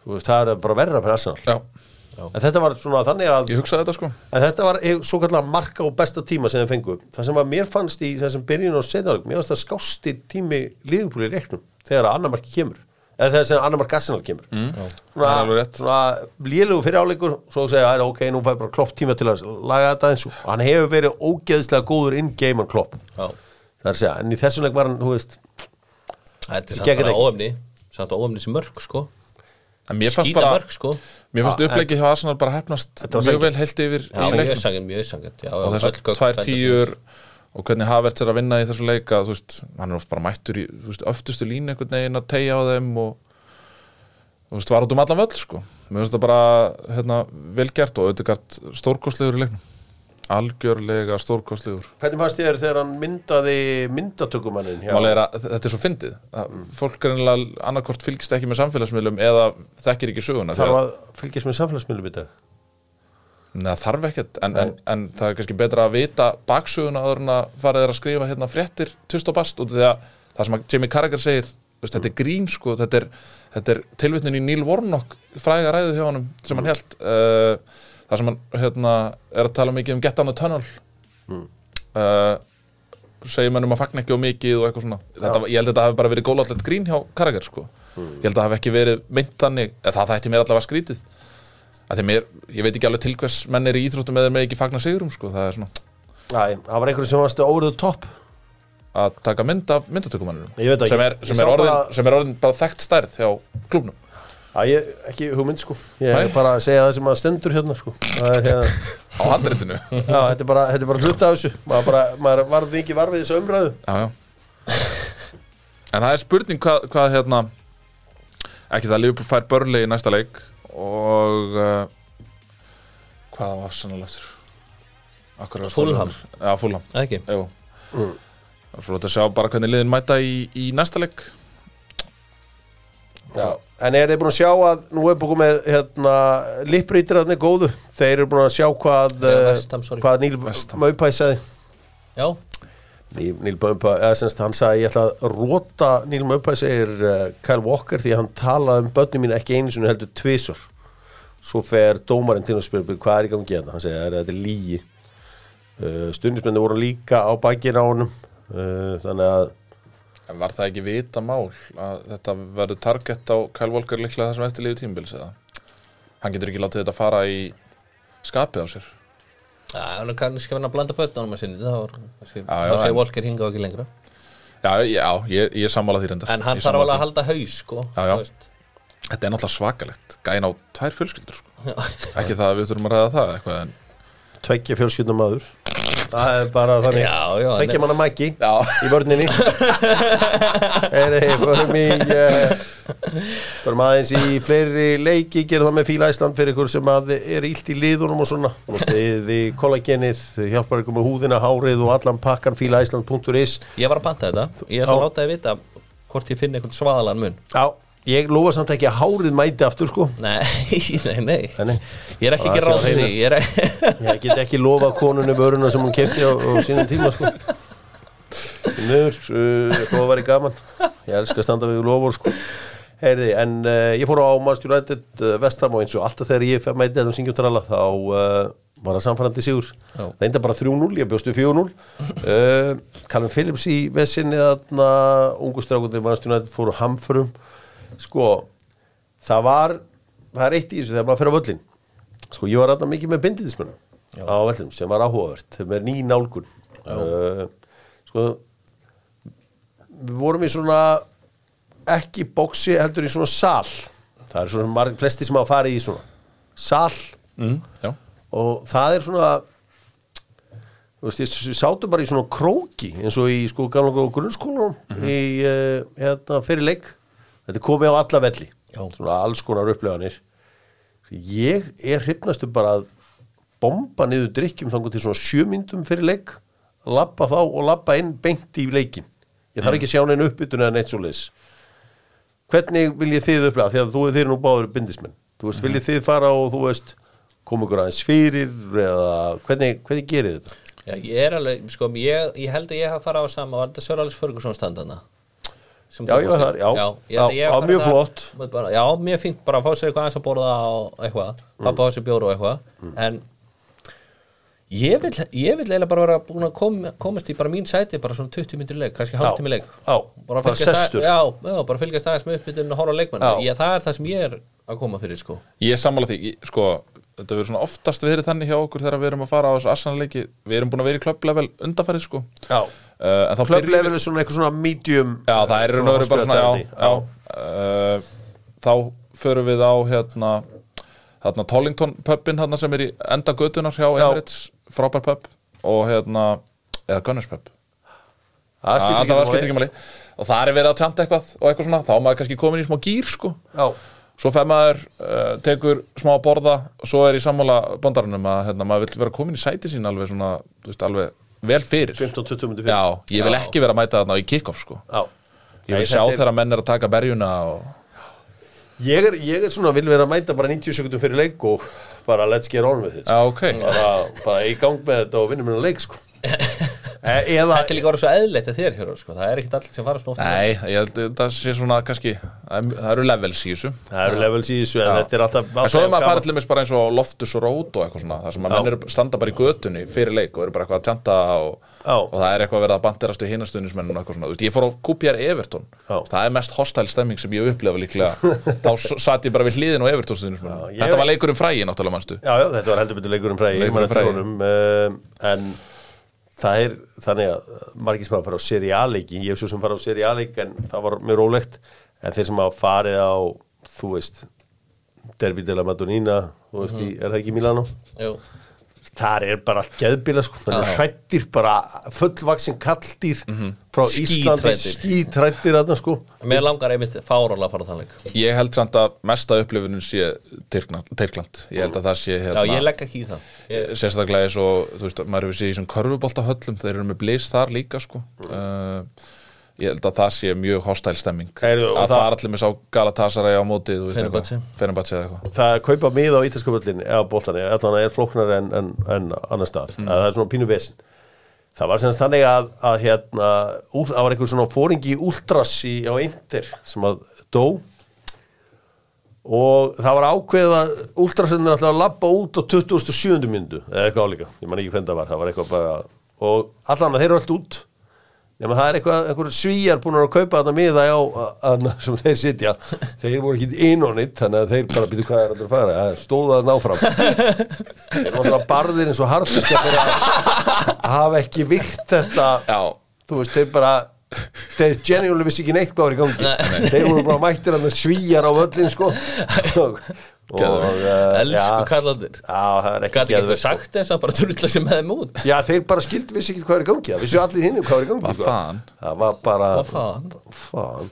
Þú veist, það er bara verra fyrir Arsenal
já,
en þetta var svona þannig að
ég hugsaði þetta sko
en þetta var eh, svo kallar marka og besta tíma sem þeir fengu það sem að mér fannst í þessum byrjun og setjarlag mér fannst það skásti tími liðupúli í reiknum þegar að annar mark kemur eða þegar sem annar mark Arsenal kemur mm.
Það er alveg
svona,
rétt.
svona lélugu fyrir áleikur svo segja að ok, nú fæði bara klopp tíma til að laga þetta eins og hann hefur verið ógeðslega góður in-game hann klopp
Já,
það er að segja, en í þessum leik var hann, þú veist
þetta er
Gekk
samt bara
þetta ekki?
óöfni samt að óumnissi mörg sko
En mér fannst
skýta
bara,
mörg sko
mér fannst upplegið hjá Arsenal bara hefnast
var
mjög vel heilt yfir
Já,
í
mjög
leiknum.
sangin, mjög sangin já,
og þessar tvær tíur og hvernig Havertz er að vinna í þessu leika þú veist, hann er oft bara mættur í þú veist, öftustu línu einhvern veginn að tegja á þeim og þú veist, var út um allan völl sko, mér finnst það bara hérna, velgert og auðvitað stórkostlegur í leiknum, algjörlega stórkostlegur
Hvernig fannst þér þegar hann myndaði myndatökumannin
Málið er að þetta er svo fyndið að fólk reynilega annarkort fylgist ekki með samfélagsmiðlum eða þekkir ekki söguna
Þarf að fylgjast með samfélagsmiðlum í dag
neða þarf ekkert en, en, en það er kannski betra að vita baksöguna áður en að farið er að skrifa hérna fréttir tvist og bast út af því að það sem að Jamie Carragher segir þú veist, þetta er grín sko, þetta er, þetta er tilvitnin í Neil Warnock fræga ræðu hjá honum sem hann held uh, það sem hann hérna, er að tala mikið um Get Down the Tunnel uh, segir mönnum að fagna ekki og mikið og eitthvað svona þetta, ég held að þetta hafi bara verið gólallet grín hjá Carragher sko. ég held að það hafi ekki verið mynd þannig eða það þætti mér allavega skrítið að því mér, ég veit ekki alveg til hvers menn er í íþróttum eða með ekki fagna sigurum sko, það er svona
Æ, það var einhverjum sem varst óriðu topp
að taka mynd af myndatökumannunum
Ég veit ekki.
sem, er,
Ég
sem,
sá
er orðin,
bara-
sem er orðin bara þekkt stærð hjá klubnum
Æ, ég, ekki hugmynd sko Ég er
Nei.
bara að segja það sem að stendur hérna sko Það er hérna
á handreitinu já,
Já, þetta er bara, þetta er bara hluta af þessu Maður, bara, maður varð mikið varfið þessu umræðu
já. en það er spurning hvað, hvað hérna ekki það Liverpool fær börnlegi í næsta leik og uh, hvað var sannlega eftir Akkur var
Fulham.
eftir- já, Fulham
ekki,
Jú
Mm.
Það er flott að sjá bara hvernig liðin mæta í, í næsta leik
Já. En er þið búin að sjá að Nú er búin með hérna, lipprítirarnir góðu Þeir eru búin að sjá hvað
Nei,
eh,
West Ham, sorry.
Hvað Níl
West Ham.
Maupæ sagði
já,
Níl, Níl Maupæ, eða semst hann sagði Ég ætla að róta Níl Maupæ segir uh, Kyle Walker því að hann talaði um börnum mín ekki einu sinni heldur tvisor Svo fer dómarinn til að spyrja Hvað er í gangi hérna? Hann segir að þetta er lígi uh, Stundismenni voru líka á bakið á honum uh, Þannig að
En var það ekki vita mál að þetta verður target á Kyle Walker líklega það sem eftir liðu tímbils eða? Hann getur ekki látið þetta fara í skapið á sér.
það er nú kannski hann að blanda bötnum að sinni, það var kannski-
Já, já,
þá sé
en-
Volker hinga ekki lengra
Já, já, ég, ég sammála því reyndar.
en hann
Ég
þarf
sammála
alveg að halda haus sko
Já, já.
þú veist.
því. Þetta er náttúrulega svakalegt. Gæn á tvær fjölskyldur, sko. ekki það að við þurfum að ræða það eitthvað en...
tveggja fjölskyldna maður það er bara þannig
Já, já,
tveggja
en-
manna mæki
Já.
í vörninni Heri, förum í uh, förum aðeins í fleiri leiki gerum það með Fíla Ísland fyrir ykkur sem að er illt í liðunum og svona notið í kollagenið, hjálpar ykkur með húðina hárið og allan pakkan fílaísland.is
ég var að panta þetta, ég er svo
Já.
látaði vita hvort ég finn einhvern svaðalan mun
já, ég lofa samt ekki að hárið mæti aftur sko
nei, nei, nei
Þannig,
ég er ekki
Það
ekki
sé á
ráð fyrir
hreinu.
því ég er ekki
ég get ekki lofa konunni vöruna sem hún kefti á, á sínum tíma sko. Nör, uh, þó að væri gaman Ég elska að standa við lofur sko. Heyriði, en uh, ég fór á Manchester United uh, Vestham og eins og alltaf þegar ég mæti þetta um syngjum tralla þá uh, var það samfærandi sigur
Já.
reynda bara 3-0, ég bjóstu 4-0 uh, Callum Phillips í vesinni þarna, ungu strákundir Manchester United fóru hamförum sko, það var það er eitt í þessu þegar maður fyrir á völlin sko, ég var þarna mikið með bindindismunum á völlum sem var áhugavert með ný nálgun uh, sko, við vorum í svona ekki bóksi heldur í svona sal það er svona marg, flesti sem hafa farið í svona sal
Mm, já.
og það er svona þú veist, ég s- við sátum bara í svona króki eins og í sko gamla góða grunnskólanum í uh, hérna fyrir leik þetta er komið á alla velli
Já.
svona alls konar uppleganir ég er hrifnastu bara að bomba niður drikkjum þangur til svona sjömyndum fyrir leik lappa þá og lappa inn beint í leikin ég þarf ekki að sjá neina uppbytun eða neitt svo leis hvernig viljið þið upplega því að þú þið eru nú báður bindismenn þú veist,
Mhm.
viljið þið fara og þú veist koma ykkur aðeins fyrir eða hvernig, hvernig gerir þetta
Já, ég er alveg, sko, ég, ég held að ég hafa farið á sama, var þetta Sir Alex Ferguson standana? Sem
Já,
þú
ég
fórst
var þar,
í?
já.
ég held að
Já,
ég hafi
já,
farið
mjög
þar-
flott.
Maður bara, Já, mjög fínt, bara að fá sér eitthvað aðeins að borða og eitthvað,
Mm.
pappa á sér bjóru og eitthvað en ég vil, ég vil eiginlega bara vera búin að kom, komast í bara mín sæti, bara svona 20 myndir leik kannski hálftími leik
já,
bara,
bara
fylgjast að-
sestur.
Já, já, bara fylgjast aðeins með uppbytun og horfa á leikmann
Já.
ég, það er það sem ég er að koma fyrir, sko
Ég sammála því, ég- sko, þetta verður svona oftast verið þannig hjá okkur þegar við erum að fara á þessu assanleiki. Við erum búin að vera í klöpplevel undarfærið, sko.
Já,
Uh, en þá byrjum við-
klöflevel er svona eitthvað svona medium
Já, það er raun og veru bara svona, já, já, uh, þá förum við á hérna, hérna Tollington pubin hérna sem er í enda götunar hjá Emirates, frábær pub og hérna, eða Gunners pub
Það skiptir ekki
alltaf
máli.
skiptir ekki máli og það er verið að tjanta eitthvað og eitthvað svona, þá er maður kannski komin í smá gýr sko
Já,
svo fer maður, uh, tekur smá að borða og svo er í sammála bondarunum að hérna, maður vill vera komin í sæti sín alveg svona, þú veist, alveg vel fyrir
15-20 myndi fyrir
já, ég vil
Já.
ekki vera að mæta þarna í kickoff sko
Já.
ég
Nei,
vil sjá
þetta er-
þegar menn er að taka berjuna og
Ég er, ég er svona, vil vera að mæta bara 90 sekundum fyrir leik og bara let's get on with it
já,
sko.
ok,
bara, bara í gang með þetta og vinnum minna leik sko. e, Eða
Þetta er líka orðið svo eðlilegt að þér hér sko. Það er ekkit allir sem fara svona oft
nei, ég held að það sé svona kannski, það það eru levels í þessu
Það eru levels í þessu en þetta er alltaf,
En
alltaf
svo er maður að fara
gaman.
til þess bara eins og loftus og rót og eitthvað svona, þar sem að
Já.
menn eru standa bara í götunni fyrir leik og eru bara eitthvað að tjanta og,
Já.
og það er eitthvað að vera að banderast í hinastunnismennum og eitthvað svona, þú veist, ég fór á QPR Everton,
Já.
það er mest hostile stemming sem ég upplefa líklega, þá s- satt ég bara við hliðin á Everton
Já,
stunnismennum,
ég-
þetta var leikur um frægi náttúrulega mannstu,
Já, já, þetta var heldur betur leikur um fræði
Leikur
Leikur
um
um
frægi.
fræði eh, En það er þannig að margir sem hafa farið á seriáleiki Ég hef svo sem farið á seriáleik en það var mjög rólegt En þeir sem hafa farið á, þú veist Derby de la Madonina Þú veist, í, er það ekki í Milano?
Jú.
Þar er bara allt geðbila sko,
Já, já.
hrættir bara fullvaksin kalldýr frá Íslandi,
Skítræddir.
skítrættir þarna sko.
Mér langar einmitt fáróla að fara á þann leik
ég held samt að mesta upplifunum sé Tyrkland, Tyrkland. ég held að það sé
Já,
hérna,
ég legg ekki í það ég,
Eh, sérstaklega eins og þú veist, maður hefur séð í þessum körfuboltahöllum þeir eru með blís þar líka sko.
Mm.
uh, ég held að það sé mjög hostile stemming
Heyrðu, og
að
það-
það er allir með sá Galatasaray á móti
Fenerbahce.
Fenerbahce eða eitthvað
Það að kaupa mið á ítalskapöllin eða bóltan, allan að er flóknar en, en, en annar staðar, mm. það er svona pínu vesin Það var semst þannig að, að hérna, úl, það var einhver svona fóringi últrassi á eindir sem að dó og það var ákveðið að últrassennir ætlaði að labba út á 27. myndu eða eitthvað álíka, ég man ekki hvernig það var það var eitthvað bara, og allan að þeir eru allt út nema það er eitthvað, einhver svíjar búin að kaupa þarna miða á að, sem þeir sitja, þeir voru ekki innonit, þannig að þeir bara býtu hvað er að fara, það stóða það náfram þeir eru alltaf barðir eins og harfist að hafa ekki vikt þetta
Já.
þú veist, þeir bara þeir genuinely vissi ekki neitt hvað var í gangi
Nei.
þeir voru bara mættir að svíjar á völlin sko og, uh,
Elsku kallandir
já, það er ekki
Gat ekki
geðveikt,
eitthvað
sko.
sagt eins og bara trullar sem með þeim út
Já, þeir bara skildi vissi ekki hvað er í gangi Það vissi allir hinn um hvað er í gangi
Hvað
sko.
fan?
Það var bara
Hvað fan?
Fan.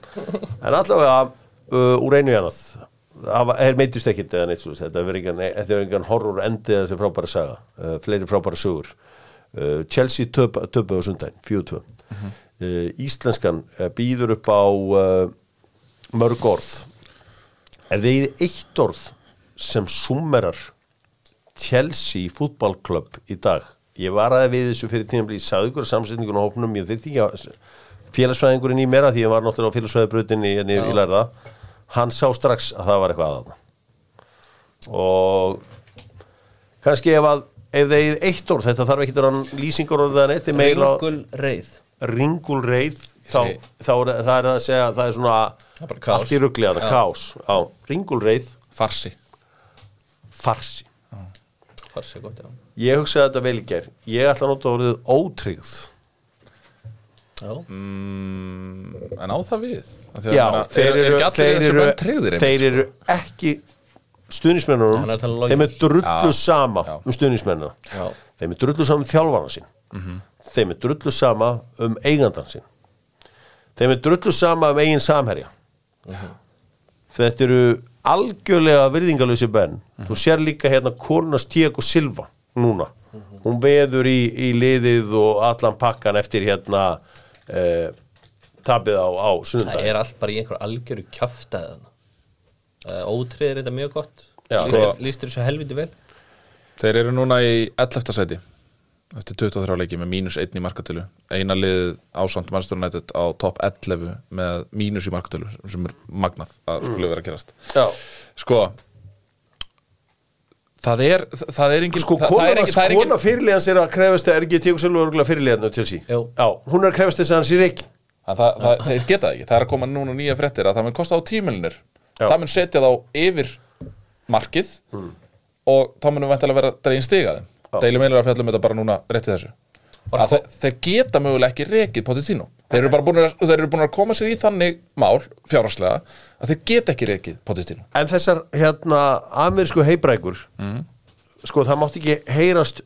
En allavega uh, úr einu í annað Það var- Þeir meitist ekkit eða neitt svo Þetta er engan, þetta er engan horror endið þessi frábæra saga uh, Fleiri frábæra sögur uh, Chelsea töpa töpa á sundaginn 4-2 uh, Íslenskan uh, býður upp á uh, mörg orð Er þeir eitt orð sem summerar Chelsea fútballklubb í dag ég varaði við þessu fyrir tíma ég sagði ykkur samsetningun á hópnum ég þyrfti ekki að félagsfræðingurinn í mér af því ég var náttúrulega á félagsfræðibrautinni en ég,
Já.
ég lærða hann sá strax að það var eitthvað aðan og kannski ef að ef þeir eitt orð, þetta þarf ekki að vera lýsingur orðið en eitt er meira
Ringul reið
ringul reið þá,
Ég segi.
þá er, það er að segja að það er svona
Það er bara kaos.
allt í ruggli að það, kaos á, ringul reið,
farsi
farsi
Farsi gott, já
Ég hugsaði þetta vel í gær Ég ætla að nota orðið ótryggð
Já,
mm, en á það við Af því að
Já,
meina,
þeir
er, er
eru
ekki allir
þeir
þessi
eru,
menn tryggðir einmitt, sko?
þeir eru ekki stuðnismennunum
Hann er að tala um
Þeim er
logið.
drullu
Já,
sama
já.
um stuðnismennuna
Já.
Þeim er drullu sama um þjálfarna sín
Mhm.
Þeim er drullu sama um eigandan sín Þeim er drullu sama um eigin samherja
Mhm.
Þetta eru algjörlega virðingalösi benn
Mhm.
Þú sér líka hérna konunars Tiago Silva núna
Mhm.
Hún veður í, í liðið og allan pakkan eftir hérna eh, tabið á, á sunnundag
það er allt bara í einhver algjöru kjaftaðan uh, Ótreyðir þetta mjög gott
Já,
Lýstir-
sko.
Lýstir þessu helviti vel
sko. þeir eru núna í 11. sæti eftir 23 leiki með mínus 1 í markatölu eina lið ásamt Manchester United á top 11 með mínus í markatölu sem er magnað
Mm.
að skulle vera að gerast
Já,
sko það er það er engin
sko
það, það er
konan,
engin, það er
konan
engin
fyrirliðans er að krefast er ekki tíku silvur örgulega fyrirliðan til sí
Jú.
Já, hún er að krefast þess að hans í reik
að það, það, þeir geta það ekki, það er að koma núna nýja fréttir að það mun kosta á tímilinir
Já. Hmm.
það mun setja þá yfir markið og þá munum við vantilega vera dregin stiga þeim
Já.
deilum eilir að fjallum þetta bara um núna rétti þessu
Bara
að þe þeir geta mögulega ekki rekið Pochettino þeir eru bara búin að, þeir eru búin að koma sér í þannig mál fjárhagslega að þeir geta ekki rekið Pochettino
En þessar hérna amerísku heibrækur sko það mátti ekki heyrast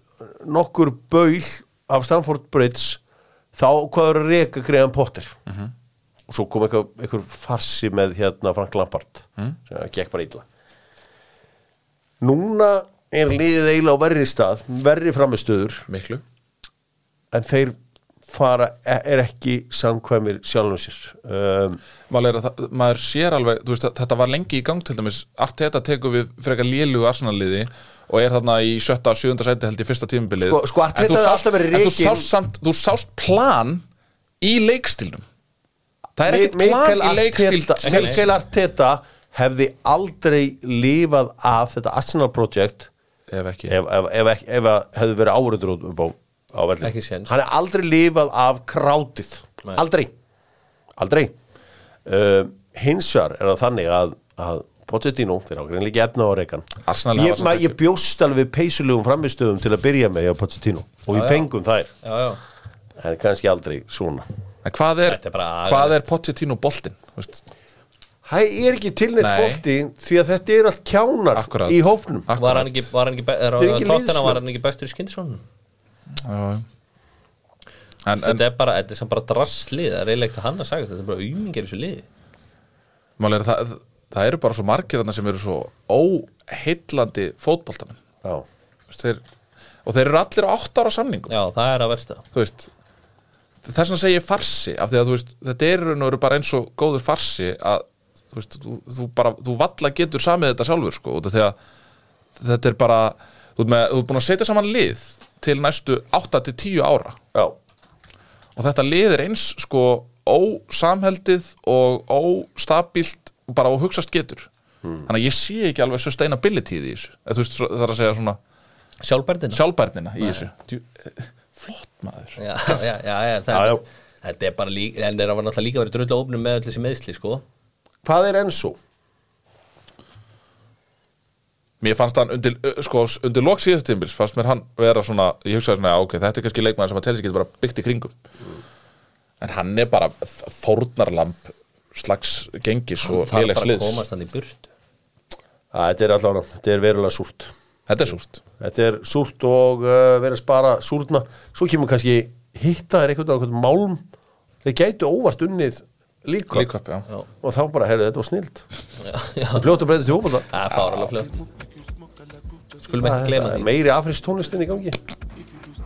nokkur baul af Stanford Bridge þá hvað eru reka greiðan Potter og svo kom eitthvað, eitthvað farsi með hérna Frank Lampard sem gekk bara illa Núna er liðið eiginlega á verri stað verri framistöður
miklu
en þeir fara e, er ekki samkvæmir sjálfum sér um,
Mál er að það, maður sér alveg þú veist, að þetta var lengi í gang til dæmis Arteta tekur við frekar lélugu arsenalliði og er þarna í sjötta og sjöunda sæti held í fyrsta tímabilið
Sko- sko, Arteta
En þú
hefði
sást-
alltaf verið
en þú
rekinn-
sást, samt, þú sást plan í leikstilnum það er ekkert
Mikael
plan í
Arteta,
leikstil
Mikael Arteta hefði aldrei lifað af þetta Arsenal Project
ef ekki
ef, ef, ef, ef, ef að hefði verið áreitur út upp á, á velli
Ekki séns.
hann hefði aldrei lifað af krátið
Nei.
aldrei aldrei uh, hinsar er það þannig að, að Pochettino, þeir ákveðin líka efna á reikan
Arsenal hafa
ég,
samt
ma,
ekki-
ég bjóst alveg peysulegum framistöðum til að byrja með hjá Pochettino og við fengum þær
já, já.
en kannski aldrei svona
En hvað er,
Þetta er bara-
hvað er Pochettino boltinn? þú veist?
Það er ekki tilneitt
Nei.
bolti því að þetta er allt kjánar
Akkurat.
í hópnum
Akkurat.
Var hann ekki, var hann ekki, be- er,
Þetta er ekki sko.
tóttina,
liðsnöfn.
var hann ekki bestur í skyndisónum?
Já, já. En, en
Þetta er bara, þetta er samt bara drasslið, það er eiginlega ekkert að hann að sagast, þetta er bara umingir í þessu liði.
mál er að það, það eru bara svo margir þarna sem eru svo óheillandi fótboltamenn
Já.
Þú veist, þeir, og þeir eru allir á 8 ára samningum
Já, það er að versta.
þú veist þess vegna segi ég farsi af því að þú veist þetta er raun og eru bara eins og góður farsi að þú veist þú, þú bara þú valla getur samið þetta sjálfur sko út af því að þetta er bara þú ert, með, þú ert búin að setja saman lið til næstu 8 til 10 ára
Já.
og þetta lið er eins sko ósamheldið og óstabilt bara og hugsast getur þannig að ég sé ekki alveg sustainability í þessu eða þú veist svo- það er að segja svona
Sjálfbærtina.
sjálfbærnina í þessu Djú, eh, flott maður
já, já, já, já,
Já,
það,
já.
þetta er bara líka, en þeir hafa náttúrulega líka verið dröðlega ofnum með öll þessi meðsli, sko.
Hvað er Enzo?
Mér fannst hann undir, ö, sko, undir lok síðast tímbils fannst mér hann vera svona, ég hugsaði svona, já, ok, þetta er kannski leikmaður sem að telsi getur bara byggt í kringum en hann er bara f- fórnarlamb slags gengis og
Það er
félags
bara að
liðs
komast hann í burtu.
Æ, þetta er allan, þetta er verulega súrt
Þetta er súrt
Þetta er súrt og uh, verið að spara súrtna Svo kemur kannski hitta þér eitthvað á einhvern málm Þeir gætu óvart unnið líka,
Líka upp, já
Já,
Og þá bara, heyrðu, þetta var snild
já, já,
Fljótt að breyðast í hópa
það er fáralega fljótt. Skulum ekki glema því.
Meiri afrist tónlistin í gangi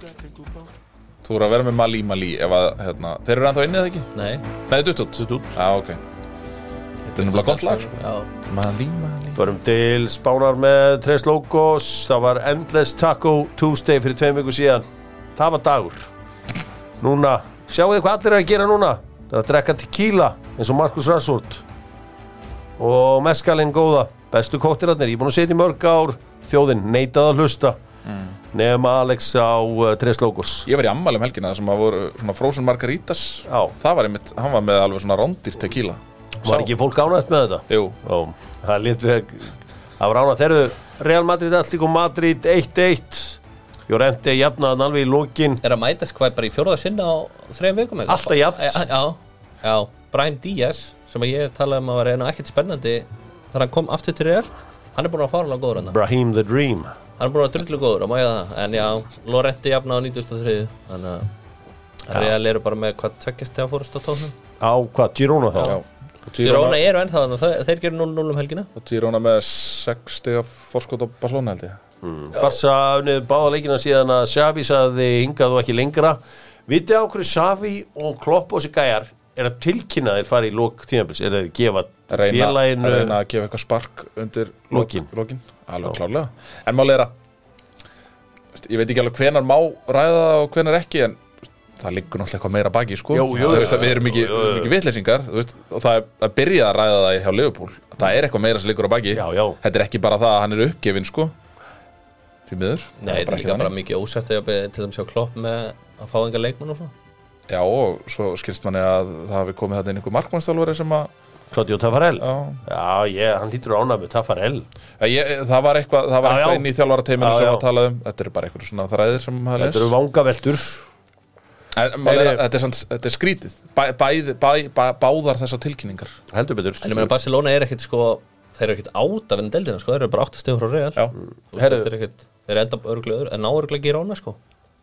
Þú voru að vera með Malí Malí ef að, hérna, þeir eru ennþá innið ekki?
Nei,
Nei, dutt út Dutt út Já, ok Þetta er nefnilega gott lag, sko
já,
Malí Malí
Förum til spánar með Tres Logos Það var Endless Taco Tuesday fyrir tveim viku síðan Það var dagur Núna, sjáu þið hvað allir er að gera núna Það er að drekka tequila eins og Markus Rassvort og meskalinn góða bestu kóttirarnir, ég er búin að setja í mörg ár þjóðin neitað að hlusta nema Alex á uh, Tres Logos
Ég var í ammæli um helgina þar sem að voru svona frozen margaritas
Já.
Það var einmitt, hann var með alveg svona rondýr tequila
Var ekki fólk ánægt með þetta?
Jú,
Ó, það lét við Það var rána þeirru Real Madrid Atlíko Madrid 1-1 Jórenti jafnaðan alveg í lokin
er að mætast hvað bara í fjóraða sinna á þrejum vikum eitthvað?
Alltaf jafnt.
Já, já, já, Brian Díaz, sem að ég talaði um að var einu ekkert spennandi, þar hann kom aftur til þér, hann er búin að fáralega góður hann.
Brahim the Dream
Hann er búin að drullu góður að mæja það En já, Loretti jafna á 93 Þannig að Real eru bara með hvað tveggjast þegar fórust á tóknum
Á hvað, Girona þá?
Já.
Girona eru ennþá þannig að þeir gerir 0-0 um helgina
og Girona með 6 stiga forskot á Barcelona held ég
Barsa Mm, unnið báða leikina síðan að Xavi sagði hingað og ekki lengra Vitið á hverju Xavi og Klopp og þessi gæjar er að tilkynna þeir fari í lok tímabils er þeir gefa
að reyna,
félaginu
að reyna að gefa eitthvað spark undir
Lokin.
lok- lokin. alveg klárlega en máli er að veist, ég veit ekki alveg hvenar má ræða það og hvenar ekki en veist, það liggur náttúrulega eitthvað meira baki sko.
Jú, jú,
Það, veist, að við erum
jú,
ekki,
jú, jú.
ekki vitleysingar þú veist, og það er að byrja að ræða það hjá Liverpool það er eitthvað meira sem liggur á baki
Já, já.
þetta er ekki bara það að hann er uppgefin sko. því miður
Nei,
Það er
þetta er
ekki
líka
þannig.
bara mikið ósætt eða be- til þeim sjá klopp með að fá enga leikmann og svo
já, og svo skilst manni að það hafi komið þetta inn einhver markmannstálvari sem að
Claudio Tafarel Já,
já,
ég, hann hlýtur ánað með Tafarel
Já, Eh, Ég, það var eitthvað, það var
Já,
eitthvað
já.
inn í þjálfara teiminu
Já,
sem
já.
var að tala um Þetta eru bara eitthvað svona þræðir sem maður les
Þetta eru vangaveltur
En mál er
Heyri-
að þetta er, samt, þetta er skrítið bæ, bæði, bæ, bæ, Báðar þessar tilkynningar
heldur betur
En ég meina Barcelona er ekkit sko Þeir eru ekkit át af enn deildina sko Þeir eru bara 8 stöður frá Real
Já.
Þú veist,
Herru.
Þetta er ekkit Þeir enda örglega öðru En ná örglega ekki í rána sko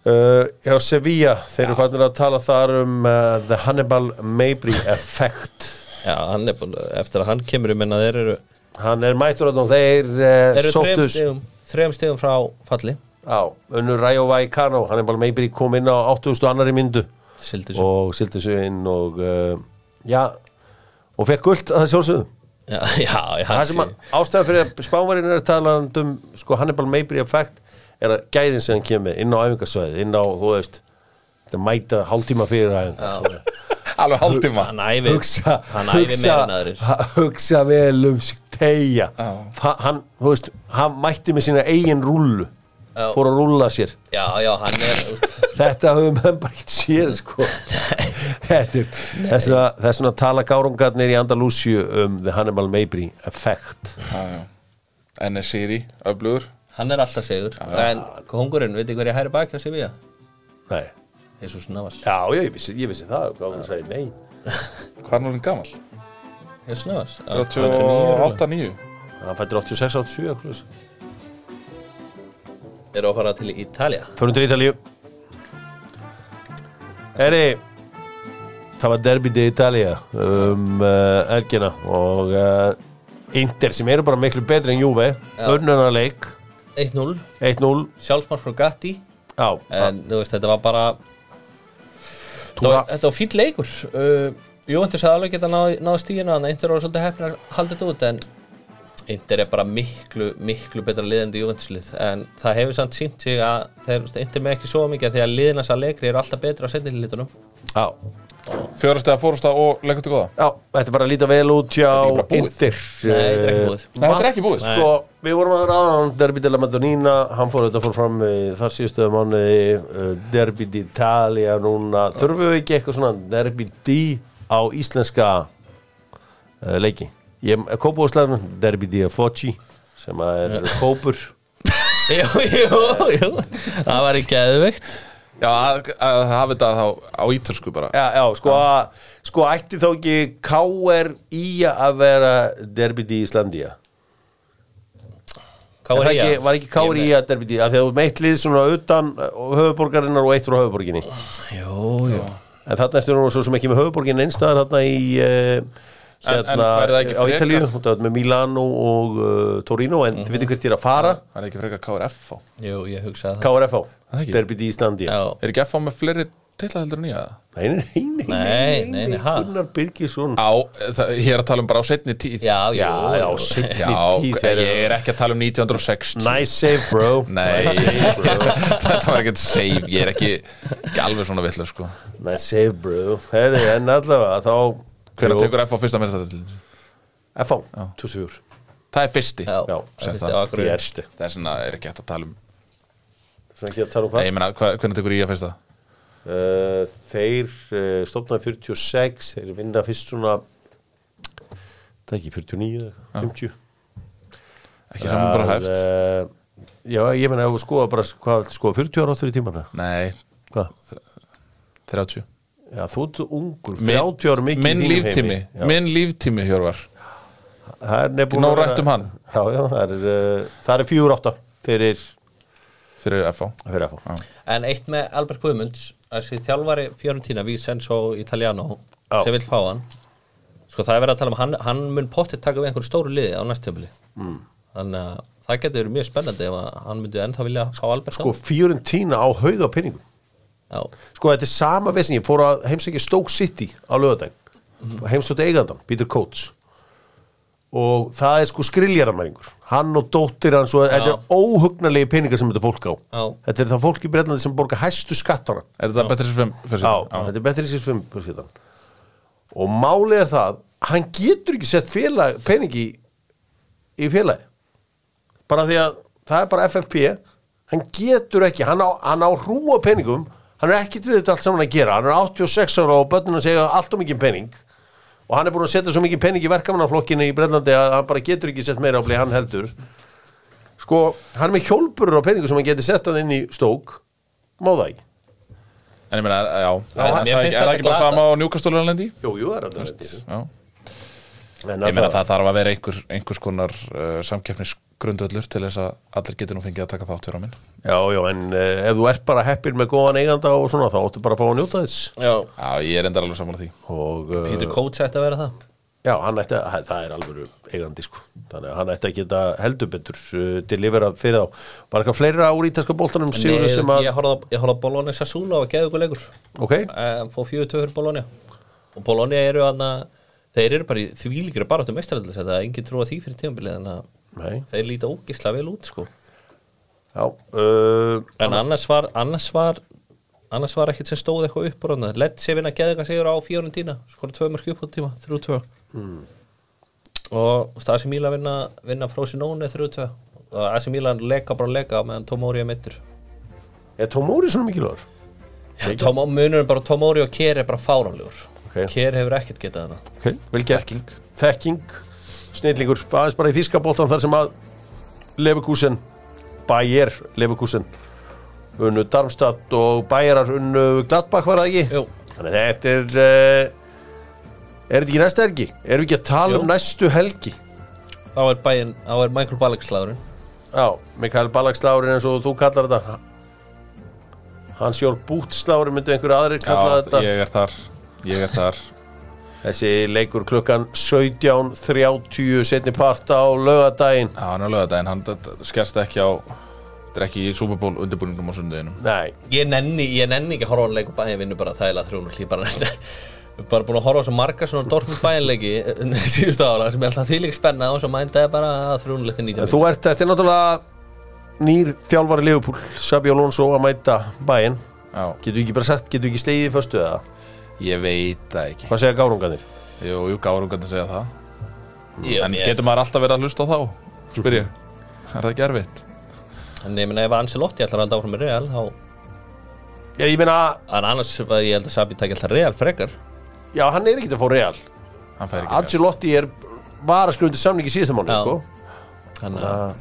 Uh, já, Sevilla, þeir eru fannir að tala þar um uh, The Hannibal Mabry Effect
Já, hann er búin Eftir að hann kemur ég menna þeir eru
Hann er mættur að þeir uh,
Þeir eru þrejum
sóttus
stegum Þrejum stegum frá falli
á Önnu Rayo Vallecano, Hannibal Mabry kom inn á 8000 annari myndu
Sildi svo
og sildi sig inn og uh, já, og fekk guld að það sjálfsögðu
Já, já, já
Það sem að ástæðan fyrir að spámarinn er að tala um sko Hannibal Mabry effect er að gæðin sem hann kemur inn á æfingasvæði inn á, þú veist, þetta mæta hálftíma fyrir æfinga
Já,
Alveg hálftíma
hann æfi
hugsa,
Hann æfi meira en aðrir
ha- hugsa vel um sig tegja
Já.
hann, þú veist, hann mætti með sína eigin rúllu
Já.
fór að rúlla sér
Já, já, hann er
þetta höfum hann bara ekkert séð sko. þetta er þess vegna- þess vegna tala gárungarnir í Andalusíu um the Hannibal Mabry effect
Já, já. NSCRI, öflugur
Hann er alltaf segur En kongurinn, veitir hverja hæri bakja sem ég
Nei.
Jesus Navas
já, já, ég vissi, ég vissi það hvað hann sagði, nei
Hvað er nú hann gamall?
Jesus Navas Hann er 39
38-9
hann fættir 86, 87 eitthvað svoleiðis.
Eru að fara til Ítalja
Förum til Ítalíu Eri Það var derby í Ítalíu um uh, elgina og uh, Inter sem eru bara miklu betri en Juve
Já.
önnunarleik
1-0
1-0
Sjálfsmark frá Gatti
Já,
En þú veist, þetta var bara þetta
Túra.
var, þetta var fýll leikur uh, Jóhandur sagði alveg geta náð, náð stíðina Þannig að Inter var svolítið heppin að halda þetta út En Inter er bara miklu, miklu betra liðandi Jóhanslið En það hefur samt sínt sig að þeir, þú veist, Inter með ekki svo mikið Þegar liðina sá leikri eru alltaf betra á setnilítunum
já,
Fjórastega, fórasta og leikur til góða
já, þetta er bara að líta vel út hjá
Þetta er ekki
Inter
Nei, þetta er
bara búið.
ekki búið.
Eh,
Nei, þetta er ekki búið,
vant- Sko, við vorum að ráða hann derby della Madonnina hann fór auðvitað fór fram eh, þar síðustu mánuði eh, derby d'Italia núna þurfum við ekki eitthvað svona derby d á íslenska uh, leiki ég er kópúðslæðin derby d að Foci sem að er kópur
Jú, jú, jú Það var ekki aðveikt
Já, að, að það hafi þetta þá á ítölsku bara
já, já, sko, að- sko ætti þá ekki KR í að vera derby d Íslandia
Hvað
Er
var
það
ég
ekki, var ekki kári í að derbytí af því að þú meitt lið svona utan eh, höfuborgarinnar og eitt frá höfuborginni
Jú, jú
en þarna erstu nú svo sem ekki með höfuborgin einstæðar þarna í eh,
En- en
hérna
væri það ekki
á
frekar?
Ítalíu þú ert með Milano og uh, Torino en þið veitum hvert ég er að fara
Það er ekki frekar KRF á
Jú, ég hugsaði það
KRFO,
Það ekki.
derbytí í Íslandi
Já,
Er ekki FH með fleiri titla heldur en ég að
nei, nei, nei,
Nei, nei, nei, ha?
Gunnar Birgisson
Á, það, ég er að tala um bara á setni tíð
já, jú
já, já,
jú.
seinni
Já,
tíð
ég
þeir eru-
er ekki að tala um 1960
Nice save, bro
Nei,
Nice save, bro.
þetta var ekkert save Ég er ekki, ekki alveg svona vitlega sko
Nice save, bro Heri, En allavega, þá
Hvernig tekur FH fyrsta meðstæðatil?
FO, 24
Það er fyrsti
Já,
Já,
það finnst
það.
ég á Akureyri.
Því erstu
Það er svona, er ekki hægt að tala um
Svona ekki að tala um hvað
Nei, ég meina, hva, hvernig tekur ég að fyrsta?
Uh, þeir uh, stopnaði 46 þeir vinna fyrst svona það er ekki 49 eða eitthvað, 50
Ekki saman bara hæft
uh, já ég menna ef þú skoða bara hvað, skoða 40 ára áttur í tímana
Nei,
hvað?
30
já þú ert ungur, 30 ára mikið í
Minn
þínum heimi.
líftími,
Já.
minn líftími, Hjörvar
það er nefnum
Nóg rætt um hann.
já já það er, uh, það er 4 átta fyrir
Fyrir FH
fyrir að fá
Já.
En eitt með Albert Guðmunds þessi þjálfari Fiorentina Vincenzo Italiano
Já.
sem vil fá hann sko það er verið að tala um hann, hann mun pottið taka við einhverju stóru liði á næstjöfli mm. þannig að það getur verið mjög spennandi ef að hann myndi ennþá vilja fá Albert
sko 14 á hauga pinningum
Já,
sko þetta er sama vesni, ég fór að heimsækja Stoke City á lögadag heimsótti eigandan, Peter Coates og það er sko skriljaramæringur hann og dóttir hans og þetta er óhugnarlegi peningar sem þetta fólk á
Já.
þetta er það fólk í Breitlandi sem borga hæstu skattara
Er þetta betri sem fyrir
á,
sig?
þetta er betri sér fimm fjölskyldan. og málið er það hann getur ekki sett félag, peningi í félagi bara því að það er bara FFP hann getur ekki, hann á, hann á rúa peningum hann er ekkert við þetta allt saman að gera hann er 86 ára og börnina segja allt og mikið pening og hann er búin að setja svo mikið pening í verkamannaflokkinu í Brellandi að hann bara getur ekki sett meira á blei hann heldur sko, hann er með hjólpurur á peningum sem hann getur sett hann inn í stók má það ekki
En En ég meina, já, já
hann-
er,
mér
það
finnst
ekki- er það
þetta
ekki bara
glata.
sama á njúkastólunarlendi?
Jú, jú, það er alltaf þetta
Já,
En
ég meina
alltaf-
það þarf að vera einhver, einhvers konar uh, samkeppnisgrundöllur til þess að allir getur nú fengið að taka þátt hér á minn
Já, já, en uh, ef þú ert bara heppir með góðan eiganda og svona þá áttu bara að fá að njóta þess
Já,
Já, ég er endar alveg saman því
og uh,
Peter Coates ætti að vera það
já, hann ætti að, hæ- það er alveg eigandi sko, þannig að hann ætti að geta heldur betur uh, til yfir að fyrir þá var eitthvað fleira úr ítalska bóltanum Sigurður sem
Nei,
að,
Ég horfði á- ég horfði á Bologna Sassúla og geðu ykkur leikur
ok,
Eh, Fór fjögur töfur Bologna Og Bologna eru aðna Þeir eru bara í þvílíkir og baráttu meistaræðlis Það er engin trúa því fyrir tímabilið En að
nei
þeir líta ógisla vel út sko
já, uh,
En annars var Annars var Annars var ekkert sem stóð eitthvað upp úr hann Lett sé vinna geðu ykkur sigur á fjórun tína Skora tvö mörg upp á tíma, þrjú tvö Og Stasi Míla vinna Vinna Frosinone þrjú tvö Og Asi Mílan leka bara leka á Meðan Tomóri er mittur
er Tómóri svona mikilvægur?
Tom, munurinn bara Tomori og Kér er bara fáránlegur
Ok.
okay. Kér hefur ekkert getað hana
Ok, vel gert Þekking, snillingur, aðeins bara í þíska bóltan þar sem að Leverkusen, Bayer Leverkusen unnu Darmstadt og Bayerar unnu Gladbach var það ekki?
Jú.
Þannig að þetta er uh, Er þetta ekki næsta helgi? Erum við ekki að tala
Jú.
um næstu helgi?
þá er, bæin, þá er Michael Ballack slagurinn
Já, Mikael Ballagslárin eins og þú kallar þetta Hans Jór Bútslárin myndu einhverju aðrir kalla
Já,
þetta
ég er þar Ég er þar
Þessi leikur klukkan 17.30 setni part á laugardaginn
Já, hann er lögadaginn, hann þetta skerst ekki á Þetta er ekki í Super Bowl undirbúningum á sunduginum
Nei,
ég nenni, ég nenni ekki að horfa á leik og bæin vinnur bara þægilega þrjún og hlýpar hann bara búin að horfa á svo marga svona Dortmund bæinleiki síðustu ára sem er alltaf þýlík spenna og svo mændaði bara að þrjún liti
En
19
þú ert, þetta er náttúrulega nýr þjálfari Liverpool, Sabi Alonso að mæta bæinn.
Já,
Getur ekki bara sagt, getur ekki slegið í föstu eða?
ég veit það ekki
Hvað segja gárunganir?
Jú, jú, gárungarnir segja það
ég,
En
ég-
getur maður alltaf verið að hlusta á þá? Spyr ég Er það ekki erfitt?
en ég meina ef Ancelotti ætlar alltaf áfram með Real þá,
Já, ég meina,
en annars var ég held að Sabi takk alltaf Real frekar
já, hann er ekki að fá real.
Hann fær ekki
Ancelotti er, var að skrundi samningi síðasta mánu,
Já.
sko.
hann
Ah.
að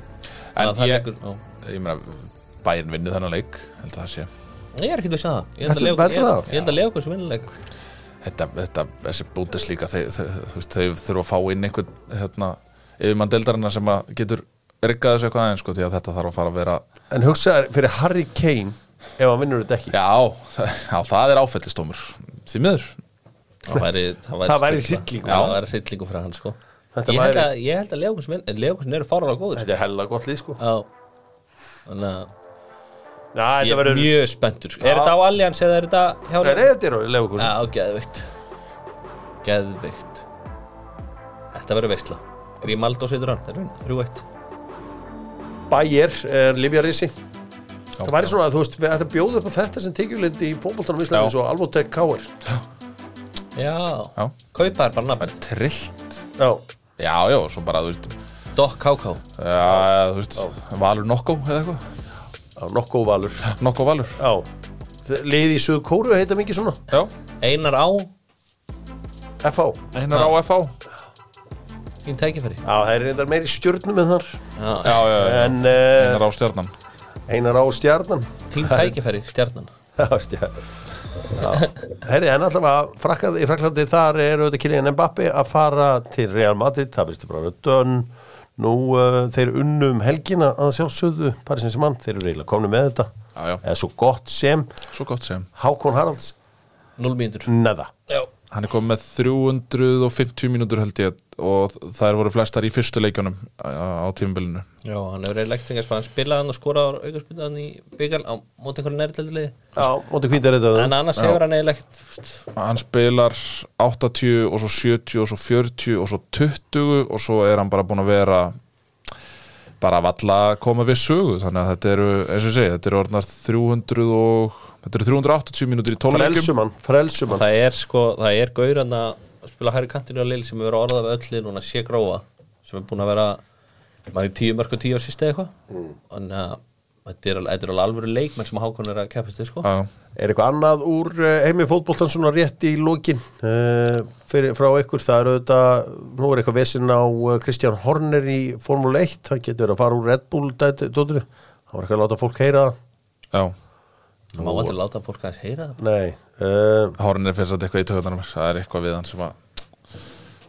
En
það
ég-
leikur- já.
Ég meina, bæinn vinnu þennan leik Held að það sé
Ég er ekki að vissi það Ég held að
Heldur-
Leifur-
heldur það?
ég- ég held að lega okkur sem vinnuleik
Þetta, þetta, þessi búndeslíka þau, þau, þú veist, þau þurfa að fá inn einhvern hérna, yfirmann deildarinnar sem að getur riggaði þessu eitthvað aðeins sko, því að þetta þarf að fara að vera
En hugsaður fyrir Harry Kane ef hann vinnur þetta ekki.
Já, það, já, það er áfellistómur Því miður
það væri, það væri,
Það væri
sturla.
hryllingur.
Já, það væri hryllingu fyrir hann sko
Þetta
ég, held
væri-
að, ég held að Leokunsin Leokunsin eru fárlega góður sko.
Þetta er hella gott lið, sko.
Já Þannig að
Já,
ég
þetta
er
verður...
mjög spenntur sko. Er þetta á Allianz eða er þetta hjá
Nei, nei, þetta er lefukursin.
Já, geðveikt Geðveikt Þetta verður veistla Grímaldó setur hann, er vinna, 3-1
Bayer er Livjarísi.
Já.
Það væri svona að þú veist, við ættum að bjóða upp á þetta sem tekjulendi í fótboltanum í Íslandi
Já.
eins og Alvotek Káir.
Já,
Já.
kaupa er bara nafn
Trillt
Já,
Já, já, svo bara, þú veist,
Dokk KK
já, þú veist Valur Nokko eða eitthvað
á nokkuð valur.
Nokko Valur
Já, liði í Suðu Kóru heita mikið svona,
Já,
Einar á,
FH
einar á FH
þín tækifæri
Já, það er reyndar meiri stjórnum en þar
Já,
Já, já, já,
En uh,
einar á stjarnan
einar á stjarnan
Þín tækifæri, stjarnan
Já, stjarnan Herri, en allavega frakkað, í Fraklandi þar er auðvitað Kylian Mbappi að fara til Real Madrid, það vistu bara röddön Nú, uh, þeir unnu um helgina að sjálfsögðu Parísins mann, þeir eru eiginlega komni með þetta
Já, já.
Eða svo gott sem
Svo gott sem
Hákon Haralds,
0 mínútur
neða
Já
Hann er komið með 350 mínútur held ég og þær voru flestar í fyrstu leikjunum á á tímabilinu
Já, hann hefur eiginlega ekkert fengið að spila, hann spilaði hann og skoraði á aukarspildaðan í byggal á móti einhverju nærtölduliði
Já, móti kvíndir þetta
en annars hefur hann eiginlega ekkert þú veist,
hann spilar 80 og svo 70 og svo 40 og svo 20 og svo er hann bara búin að vera bara valla að koma við sögu þannig að þetta eru, eins og ég segi, þetta eru orðnar 300 og þetta eru 380 mínútur í 12 leikjum
Frelsumann, frelsumann
það er sko, það er gaur hann að spila hægri kantinu á Lille sem hefur orðað við öllu núna sé gróa sem er búin að vera maður í tíu mörg og tíu á sýsti eitthvað
Mm.
þannig að þetta er alveg- þetta er alveg alvöru leikmenn sem hákon er að keppast við sko
Já,
Er eitthvað annað úr eh, heimi fótboltan svona rétt í lokin uh, fyrir, frá ykkur? Það er auðvitað, nú er eitthvað vesinn á eh, Kristján Horner í Formule 1, hann getur verið að fara úr Red Bull dæti- dótinu, hann var eitthvað að láta fólk heyra það.
já,
má aldrei láta fólk aðeins heyra það
Nei, uh,
Hárin er fyrst að eitthvað í töðunum það er eitthvað við hann sem að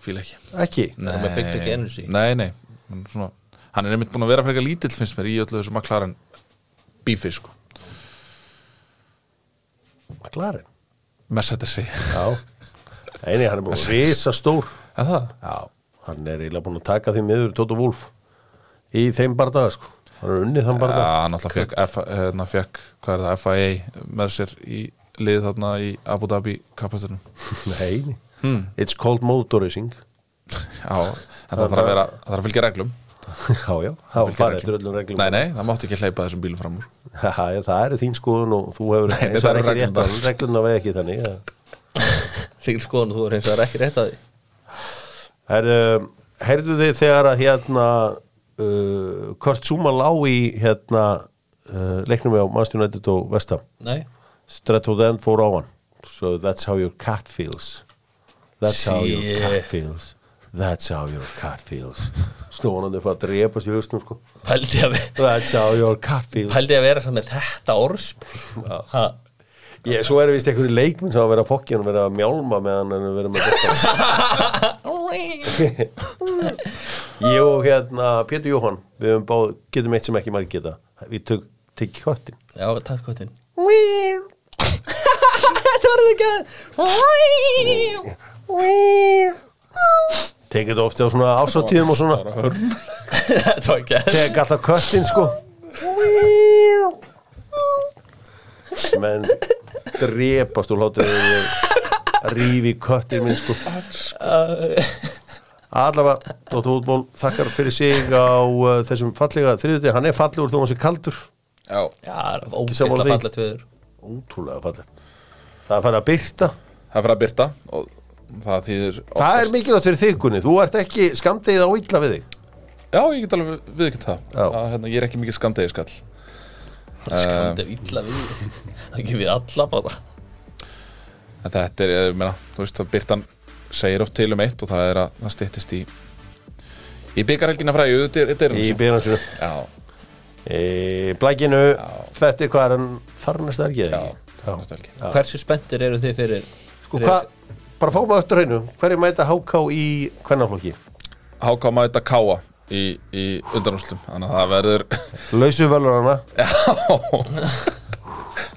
fíla ekki
ekki
er með big, big energy.
Nei, nei Hann er svona, Hann er einmitt búin að vera frekar lítill finnst mér í öllu þessu maklarinn bífi sko
McLaren
Mercedes sig
Já Eini, hann er búin að risa stór
Er það?
Já Hann er eiginlega búin að taka því miður Tóta Wolf Í þeim bardaga sko Hann er unnið þann
Já,
bardaga
hann alltaf fekk, F, hérna, fekk hvað er það, FIA með sér í liðið þarna í Abu Dhabi kapastunum
Nei hmm. It's called motor racing
Já, en það þarf að vera það þarf að fylgja reglum
Já, já Það var
Fylgja
farið
reglum.
eftir öllum reglum
Nei, nei, það mátti ekki hleypa þessum bílum fram úr
Já, já, það eru þín skoðun og þú hefur
Nei,
eins
það
og
eru
ekki rétt
reglurnar.
að regluna var ekki þannig ja.
Þykir skoðan þú er eins og það er ekki rétt að því
Herðu, heyrðu þið þegar að hérna uh, Kurt Zuma lá í hérna uh, leiknum við á Manchester United og Vestam
Nei,
Stretto then fór á hann So that's how your cat feels That's how your
Shit.
cat feels That's how your cat feels Snúan hann upp að drepast í haustum sko
pældi að, ve-
That's how your cat feels
pældi að vera saman með þetta orðspil Ha,
Ég, svo er vist einhverju leikminn sem á að vera fokkin og vera að mjálma með hann en að vera með þetta Ég og hérna Pétur Jóhann, við höfum báð getum eitt sem ekki margir geta, við tök tekið köttin
Já, takk kvötin
Þetta var það ekki að
Tekið þetta ofti á svona ásatíðum og svona
Þetta var ekki að
tek alltaf köttin sko menn drepast úr hlátur þegar ég rífi köttin minn sko allavega Dóttu Útból þakkar fyrir sig á uh, þessum fallega þriðuti, hann er fallegur þó hann sé kaldur
Já,
Já, það var
sammála
ógeðslega
því.
falla tveður
ótrúlega fallegt það er farið að byrta
það er fyrir að byrta og það þýðir
það er mikilvægt fyrir þig Gunni, þú ert ekki skamdegið á illa við þig
Já, ég get alveg viðkjönt það
Já.
að, hérna, Ég er ekki mikið skamdegiskall
Skamdi af illa við Það ekki við alla bara
En Þetta er, ég meina, þú veist að Byrtan segir oft til um eitt og það er að það styttist í í byggarhelgina fræðu, þetta er- þetta er
í byrjansinu,
Já,
í blækinu þetta er hvað er hann þar næsta helgi eða
já,
ekki?
það er næstu helgi
Hversu spenntir eru þið fyrir
Sko hvað, bara fáum við öttur hreinu Hverju mæta HK í hvernaflokki?
Háká mæta Káa í, í undanúslum þannig að það verður
Lausu völur hana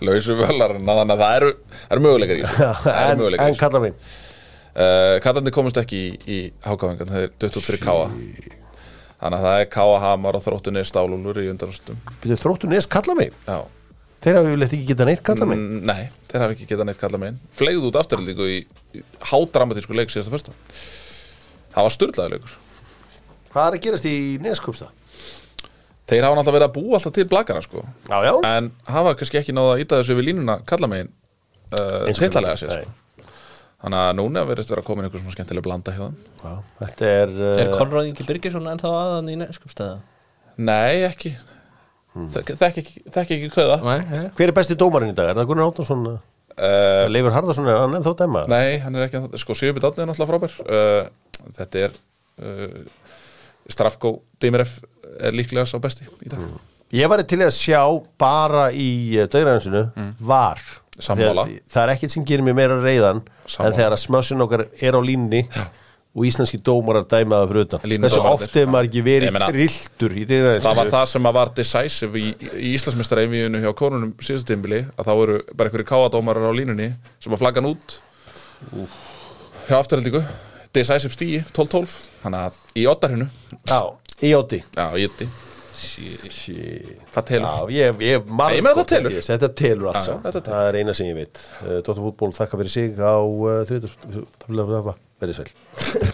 lausu völarinn þannig að það eru, það eru möguleikar í þessu. það eru
En, en
möguleikar
kalla mín
uh, Kattandi komist ekki í, í hákáðingan það er 23 Káa þannig að það er Káa Hamar og þróttunni stálúlur í undanúslum
Byrju þróttu nes kalla mín
já
Þeir hafa yfirleitt ekki getað neitt kalla mín
Mm, Nei, þeir hafa ekki getað neitt kallað meginn Fleigð út afturlíku í, í hádramatísku leik síðasta fyrsta Það var sturlaður leikur
Hvað er að gerast í neskupsta?
Þeir hafa náttúrulega verið að búa alltaf til blakana sko
Já, já
En hafa kannski ekki náða að íta þessu við línuna kallað meginn uh,
Eins og
Tittalega
kalla
sér
megin.
sko Þannig að núna verðist vera að koma einhver sem skemmtilega blanda hjá þeim
Já, Þetta er,
Er
uh,
Konráð Ingi Birgisson ennþá aðan í neskupstæða?
Nei, ekki hmm. Þekki ekki, þekki ekki köða
Nei, hef
Hver er besti dómarinn í dag? Er það Gunnar Átnason?
uh,
Leifur Harðarsson er hann ennþá að dæma?
Nei, hann er ekki að- Sko, Sigurbjörn Átni er náttúrulega frábær uh, Þetta er uh, Strafgó Demiref er líklega sá besti í
Hmm.
dag
Ég var til í að sjá bara í döðræðinsinu var
Mm. Sammála.
Þegar- Það er ekkert sem gerir mér meira reyðan en
Sammála.
þegar að smössun okkar er á línni og íslenski dómarar dæma það fyrir utan
Línudómararnir.
Þessu oft hefur maður ekki verið
Ég meina-
grilltur í
Það var
döðræðinsinu
það sem að var decisive í, í Íslandsmestareimíunum hjá konunum síðustu tímbili að þá eru bara einhverju káadómarar á línunni sem að flagga hann út hjá afturhaldingu decisive stíi, 12-12 þannig að í oddarhinu
Já, í óti
já, í ytti, það
Já,
telur
ég, ég marg
Ég meina það telur.
Þetta telur allt
Já,
saman
þetta telur.
Það er eina sem ég veit Dóttar fútból þakka fyrir sig á uh, þriðjudags- Verið sæl